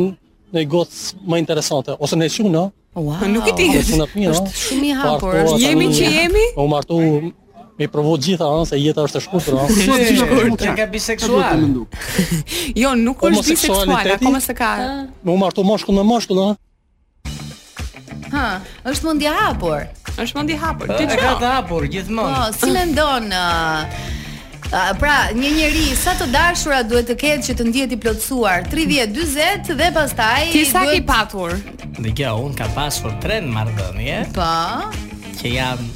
S15: në gocë më interesante, ose në shumë, no?
S7: Wow.
S12: Po, Nuk i di.
S15: Është
S7: shumë i hapur,
S15: Po,
S12: është
S15: tani-
S12: jemi që jemi.
S15: U martu me provu gjitha, ëh, se jeta është e shkurtër, ëh.
S8: Që ka biseksual.
S12: Jo, nuk është biseksual,
S15: Homoseksualiteti?
S12: akoma se ka.
S15: Me u martu moshkull me moshkull, ëh.
S7: Ha, është mund i hapur.
S12: Është mund i hapur.
S9: Ε,
S8: Ti ka të hapur gjithmonë.
S7: Po, si mendon ë, ë, pra, një njeri sa të dashura duhet të ketë që të ndihet i plotësuar? 30, 40 dhe pastaj
S12: Ti sa po- ke
S7: patur?
S8: Dhe kjo, unë ka pasur tren marrëdhënie,
S7: Po.
S8: që janë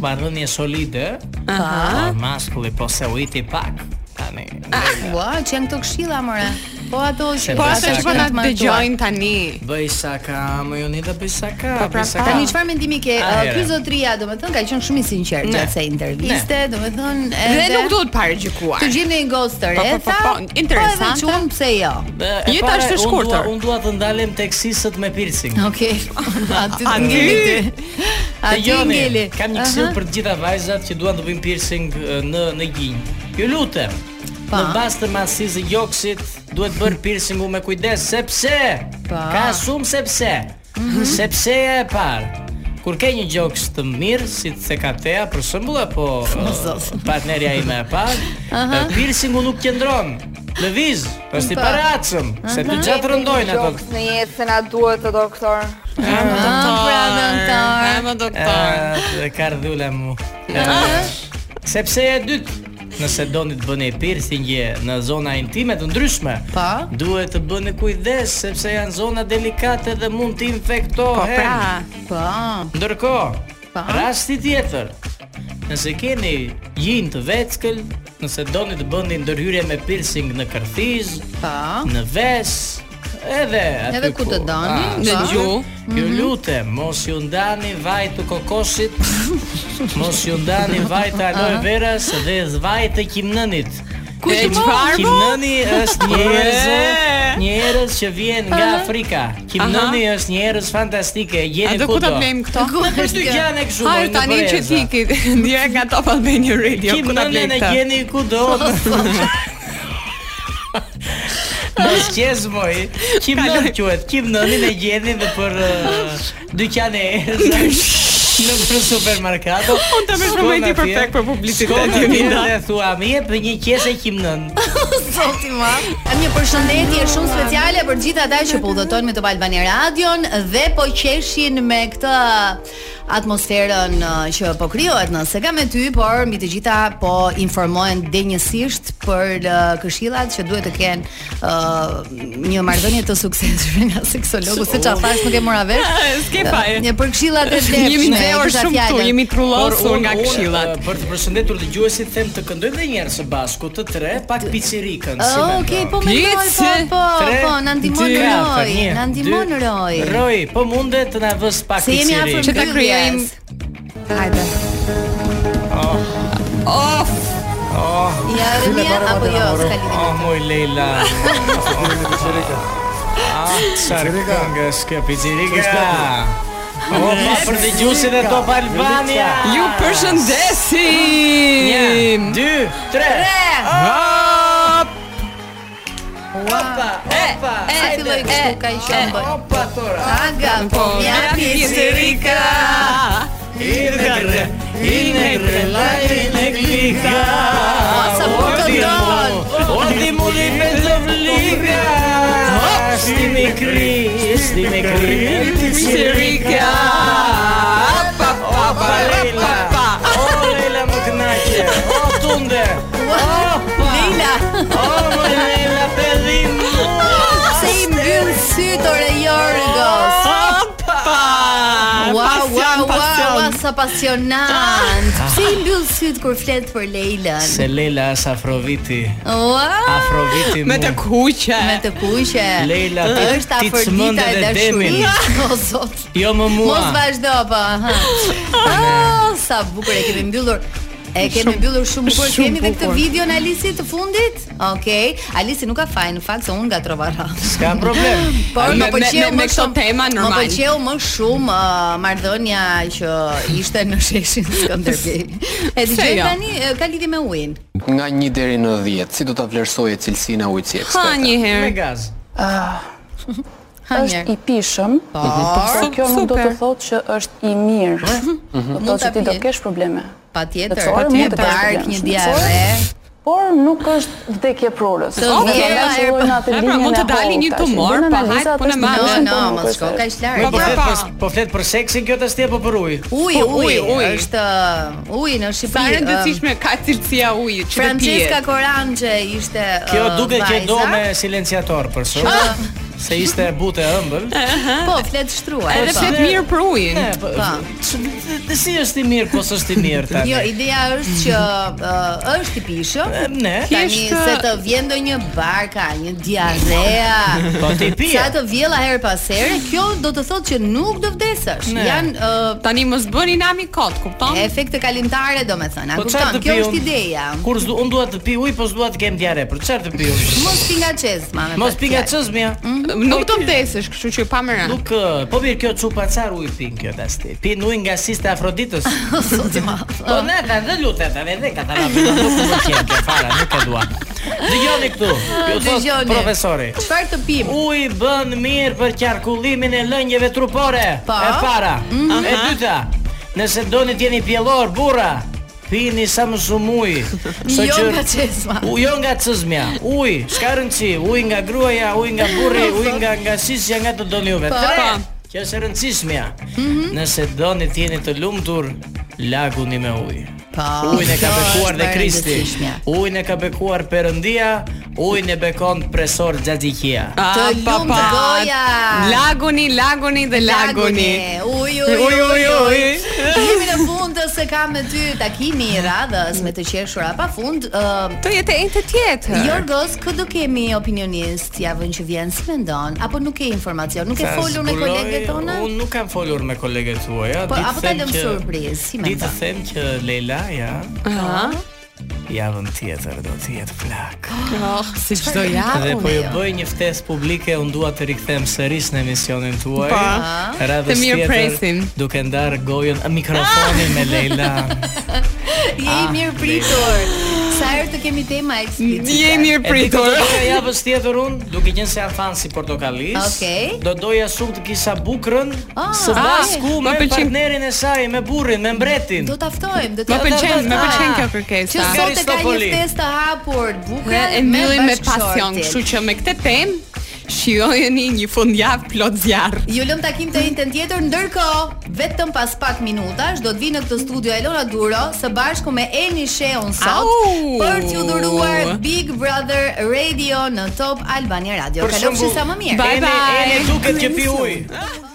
S8: marrëdhënie solide,
S7: Aha.
S8: por maskulli po se ujti pak, tani.
S7: Ua, që janë këto këshilla more. Po ato
S8: Se
S7: që
S8: po ato që po na dëgjojnë
S12: tani.
S8: Bëj sa ka, më joni dhe bëj sa ka,
S7: Po pra,
S8: bëj sa ka.
S7: tani çfarë mendimi ke? Ë,
S8: A, here.
S7: Ky zotria, domethënë ka qenë shumë i sinqert
S8: Ne.
S7: gjatë kësaj interviste, domethënë
S12: Dhe nuk duhet parë gjykuar.
S7: të gjeni një gocë të
S12: Po, po,
S7: re,
S12: po, po, interesante.
S7: Po edhe çun pse jo?
S8: Dhe e
S12: Jeta
S8: para,
S12: është e
S8: unë
S12: shkurtër.
S8: dua- Unë dua të ndalem tek sisët me piercing.
S7: Okej. Aty të
S8: Aty.
S7: ngeli ti.
S8: Të
S7: Aty
S8: gjoni,
S7: ngeli.
S8: Kam një këshill
S7: Aha.
S8: për të gjitha vajzat që duan të bëjnë piercing e, në në gjinj. Ju lutem.
S7: Pa.
S8: Në bazë të masisë së gjoksit duhet bërë piercingu me kujdes sepse
S7: Pa. Mhm.
S8: ka shumë sepse. Sepse e parë. Kur ke një gjoks të mirë, si të se ka teja, për shembull apo e, partnerja ime e parë,
S7: Aha.
S8: e, piercingu nuk qëndron. Lëviz, është i
S7: Pa.
S8: paracëm, se të gjatë rëndojnë ato.
S17: Në jetë se na duhet të doktor.
S7: Pra, doktor.
S12: Ema doktor.
S8: E ka rdhula mu. E, Sepse e dytë, nëse doni të bëni piercingje në zona intime të ndryshme,
S7: pa?
S8: duhet të bëni kujdes sepse janë zona delikate dhe mund të infektohen.
S12: pra,
S7: Po.
S8: Ndërkohë,
S7: Pa.
S8: rasti tjetër. Nëse keni gjin të veckël, nëse doni të bëni ndërhyrje me piercing në kërthiz,
S7: Pa.
S8: në ves, edhe
S7: Po.
S8: aty
S7: Edhe ku të doni,
S8: Ah,
S7: në
S8: sa-
S7: gjuhë.
S8: Ju
S7: Mhm.
S8: lutem, mos ju ndani vaj të kokosit, mos ju ndani vaj të aloe veras dhe vaj të kimnënit.
S12: Ku po?
S8: E, po?
S12: i marr, mo?
S8: Kimnëni është njerëz,
S12: E.
S8: njerëz që vjen nga Afrika. Kimnëni është njerëz fantastike, e
S12: A
S8: gjeni
S12: do
S8: kudo.
S12: ku ta blejmë këto?
S8: Ku është dy gjane kështu?
S12: Hajde tani që ti ki ndjerë nga Top Albania Radio
S8: Kim
S12: ku ta blejmë
S8: nënën e
S12: këto.
S8: gjeni kudo. Mos qes moj. Kim nën quhet? Kim nënin e gjeni dhe për uh, dyqane e erës. Në për supermerkato.
S12: Unë ta bëj prometi perfekt për publicitet, Jonida.
S8: Jonida. Dhe thua, më jep një qese qimnën.
S12: Po,
S7: Zoti ma. Një përshëndetje shumë speciale për gjithë ata që po udhëtojnë me Top Albani Radion dhe po qeshin me këtë atmosferën uh, që po krijohet në Sega me ty, por mbi të gjitha po informohen denjësisht për uh, këshillat që duhet të kenë uh, një marrëdhënie të suksesshme nga seksologu, se çfarë thash nuk e mora vesh.
S12: S'ke faj.
S7: Një për këshillat e
S12: Jemi
S7: devshme.
S12: në orë
S7: këta
S12: shumë këtu,
S7: fjalën.
S12: jemi trullosur
S8: Por unë-
S12: nga
S8: unë,
S12: këshillat.
S8: e, Për të përshëndetur dëgjuesit them të këndojmë edhe një herë së bashku të tre, pak pizzerikën si
S7: Oh,
S8: mendon.
S7: Okej, po mendoj, po, po,
S8: Tre,
S7: po, na ndihmon
S8: dy, katër,
S7: Roy,
S8: një,
S7: na ndihmon
S8: dy.
S7: Roy.
S8: Roy, po mundet të na vës pak
S7: Se jemi afër
S8: pizzerikë.
S7: mbylljes.
S12: Hajde.
S8: Oh,
S12: Of.
S8: oh.
S7: Ja, Ermia apo jo, s'ka lidhje.
S8: Oh, moj Leila. Ah, sarë këngës kë pizzerikë. Oh, pa për dëgjuesit e Top Albania.
S12: Ju përshëndesim.
S8: 1 2 3.
S12: Hop.
S8: Opa, opa.
S7: Sa filloi kështu ka i qenë bëj.
S8: Opa tora.
S7: Aga, po, ja pizzerica.
S8: Inegre, inegre, la ineglica.
S7: Sa po të ndon.
S8: Oti muri me zovlika. Sti me kri, sti me kri.
S12: Pizzerica. Pa pa
S8: Opa, Leila. O, Leila më knaqe. O, tunde. Opa.
S7: Leila.
S8: O, më Leila, pëllim.
S7: Se i mbyll sytë ore Jorgos.
S9: Oh,
S7: Wow, wow, wow, wow, sa pasionant. Se i mbyll sytë kur flet për Leilën.
S8: Se Leila është Afroviti.
S7: Wow.
S8: Afroviti mu.
S12: Me të kuqe.
S7: Me të kuqe.
S8: Leila, ti-
S7: është
S8: ti
S7: Afrodita
S8: cmënde
S7: e
S8: dhe demin.
S7: dashurisë. O zot.
S8: Jo më mua.
S7: Mos vazhdo po. aha. Ah, sa bukur e kemi mbyllur. E kemi mbyllur shumë bukur.
S12: shumë
S7: Kemi edhe këtë
S12: bukur.
S7: video në Alisi të fundit. Okej. Alisi nuk ka faj në fakt se unë gatrova rrah.
S8: S'ka problem.
S7: Por
S12: Me-
S7: më pëlqeu
S12: me- me-
S7: më
S12: me këto
S7: shumë-
S12: tema, normal.
S7: Më pëlqeu më shumë uh, marrëdhënia që ishte në sheshin Skënderbej. E dëgjoj
S12: jo?
S7: tani e, ka lidhje me ujin.
S13: Nga 1 deri në 10, si do ta vlerësoje cilësinë e ujit si
S12: Ha
S13: ekspert?
S12: një
S8: Me
S12: herë.
S8: gaz.
S14: është i pishëm,
S7: Po.
S14: por kjo nuk do të thotë që është i mirë. Do të
S7: Mhm. Mund
S14: thotë
S7: ta
S14: që ti do
S7: pije.
S14: kesh probleme.
S7: Patjetër,
S14: Plotësore, mund të kesh
S7: patjetër, bark,
S14: probleme
S7: një
S14: shumë.
S7: diare.
S14: Por nuk është vdekje prurës.
S7: Të
S14: Nuk
S7: vjera,
S14: do të
S7: e,
S14: shkojnë atë
S12: e, pra,
S14: linjën
S12: mund të
S14: e
S12: dali një
S14: hollë,
S12: tumor, pa
S14: tash. Bëjnë
S12: hajt,
S14: analizat,
S12: po në
S14: është
S12: marrë.
S7: Jo,
S14: ndryshme,
S7: no,
S14: po nuk
S7: mos
S14: është
S7: shko
S14: e-
S7: kaq larg.
S8: Po po flet
S12: pa.
S8: për po flet për seksin, kjo të stje po për ujë.
S7: Uj,
S12: Po,
S7: uj,
S12: uj, uj.
S7: është uh, uji në
S12: Sa e
S7: Shqipëri.
S12: rëndësishme ka cilësia e ujit që
S7: um,
S12: të pihet.
S7: Francesca Koranxhe ishte uh,
S8: Kjo duket që
S7: vajza.
S8: do me silenciator për shkak se ishte bute ëmbël.
S7: Po, flet shtruaj.
S12: Edhe
S7: po.
S12: flet mirë për ujin.
S8: E, po,
S7: Pa.
S8: ç- t- Si është i mirë, po s'është i mirë tani.
S7: Jo, ideja është që uh, është i pishëm.
S8: E, Ne.
S7: Tani
S12: Thjeshtë-
S7: se të vjen ndonjë barka, një diarea.
S8: Po ti pije.
S7: Sa të vjella her pas here, kjo do të thotë që nuk do vdesësh.
S8: Ne.
S7: Jan uh,
S12: Tani mos bëni nami kot, kupton?
S7: efekte kalimtare domethënë. A
S8: Po çfarë
S7: kupton?
S8: të
S7: Kjo
S8: pi
S7: është
S8: unë?
S7: ideja.
S8: Kur s'du- unë dua të pi ujë, po s'dua të kem diare. Për çfarë të pi ujë?
S7: Mos pinga çezma me.
S8: Mos
S7: pak
S8: pi nga
S7: fjalë.
S8: çëshmja.
S12: Nuk do vdesësh, kështu që pa
S9: Ναι.
S12: më rënë.
S8: Nuk, ë, po mirë kjo çupa çar ujë pin kjo tashti. Pin ujë nga siste Afroditës.
S7: Zoti ma.
S8: Po na ta dhe lutet, ta dhe ka ta vëmë nuk më qenë kjo fara, nuk e dua. Dëgjoni këtu. Ju thot
S7: Dëgjoni.
S8: profesori.
S7: Çfarë të pim?
S8: Uji bën mirë për qarkullimin e lënjeve trupore.
S7: Po. Mhm.
S8: E para. E dyta. Nëse doni të jeni pjellor, burra, pini sa më shumë ujë. Kështu
S7: Jo
S8: që-
S7: nga çezma.
S8: U jo nga cëzmja. Uj, s'ka rëndsi, uj nga gruaja, uj nga burri, uj nga nga sisja, nga të doni juve.
S7: Po. Mhm.
S8: Tre.
S12: Po.
S8: Kjo është e rëndësishmja. Nëse doni të jeni të lumtur, laguni me ujë.
S7: Po.
S8: Ujin e ka
S7: kjo
S8: bekuar
S7: është
S8: dhe
S7: e
S8: Kristi.
S7: rëndësishmja.
S8: Ujin e ka bekuar Perëndia, ujin e bekon presor Xhaxhikia.
S12: A,
S9: Ah,
S7: Të
S12: pa,
S7: lumë
S12: pa.
S7: goja.
S12: Laguni, laguni dhe laguni.
S7: Uj, uj,
S12: Uj, uj, uj.
S7: Jemi në fund të se kam me ty takimi i radhës me të qeshura pa fund. ë,
S12: Të jetë e të tjetër.
S7: Jorgos, kë do kemi opinionist javën që vjen si mendon apo nuk ke informacion? Nuk e
S8: Ta
S7: folur me
S8: zbuloj,
S7: kolegët tona?
S8: Unë nuk kam folur me kolegët tuaja.
S7: Po,
S8: di të
S7: apo ta
S8: them
S7: lëm
S8: që-
S7: surprizë, si
S8: Di të
S7: mendon?
S8: them që Leila, ja,
S12: Aha.
S8: javën tjetër do të jetë flak.
S12: Oh, si çdo javë.
S8: Dhe po
S7: unë
S8: ju
S7: jo.
S8: bëj një ftesë publike, unë dua të rikthem sërish në emisionin tuaj.
S12: Pa. Të
S8: radhës
S12: mirë
S8: tjetër,
S12: presim.
S8: Duke ndarë gojën, mikrofonin me Leila.
S7: Je i mirë pritur. Sa herë të kemi tema eksplicite.
S9: Je mirë pritur.
S8: E di këtë doja japës tjetër unë, duke qenë se jam fan si portokallis.
S7: Okej.
S8: Do doja shumë të kisha bukrën
S7: Ah,
S8: së bashku
S7: ah,
S8: me
S7: më pëlqen.
S8: partnerin e saj, me burrin, me mbretin.
S7: Do ta ftojmë, do të
S9: Më pëlqen, më pëlqen kjo kërkesë.
S7: Që sot e ka një
S8: Aristopoli.
S7: festë të hapur,
S9: Ne
S7: bukur
S9: e mbyllim me pasion, kështu që me këtë temë shijojeni një fundjavë plot zjarr.
S7: Ju lëm takim të njëjtën tjetër, ndërkohë vetëm pas pak minutash do të vinë në këtë studio Elona Duro së bashku me Elni Sheun sot
S9: Au!
S7: për t'ju dhuruar Big Brother Radio në Top Albania Radio.
S8: Për
S7: Kalofshi
S8: shembull,
S7: sa më mirë.
S8: Ene- Ene duket që pi ujë.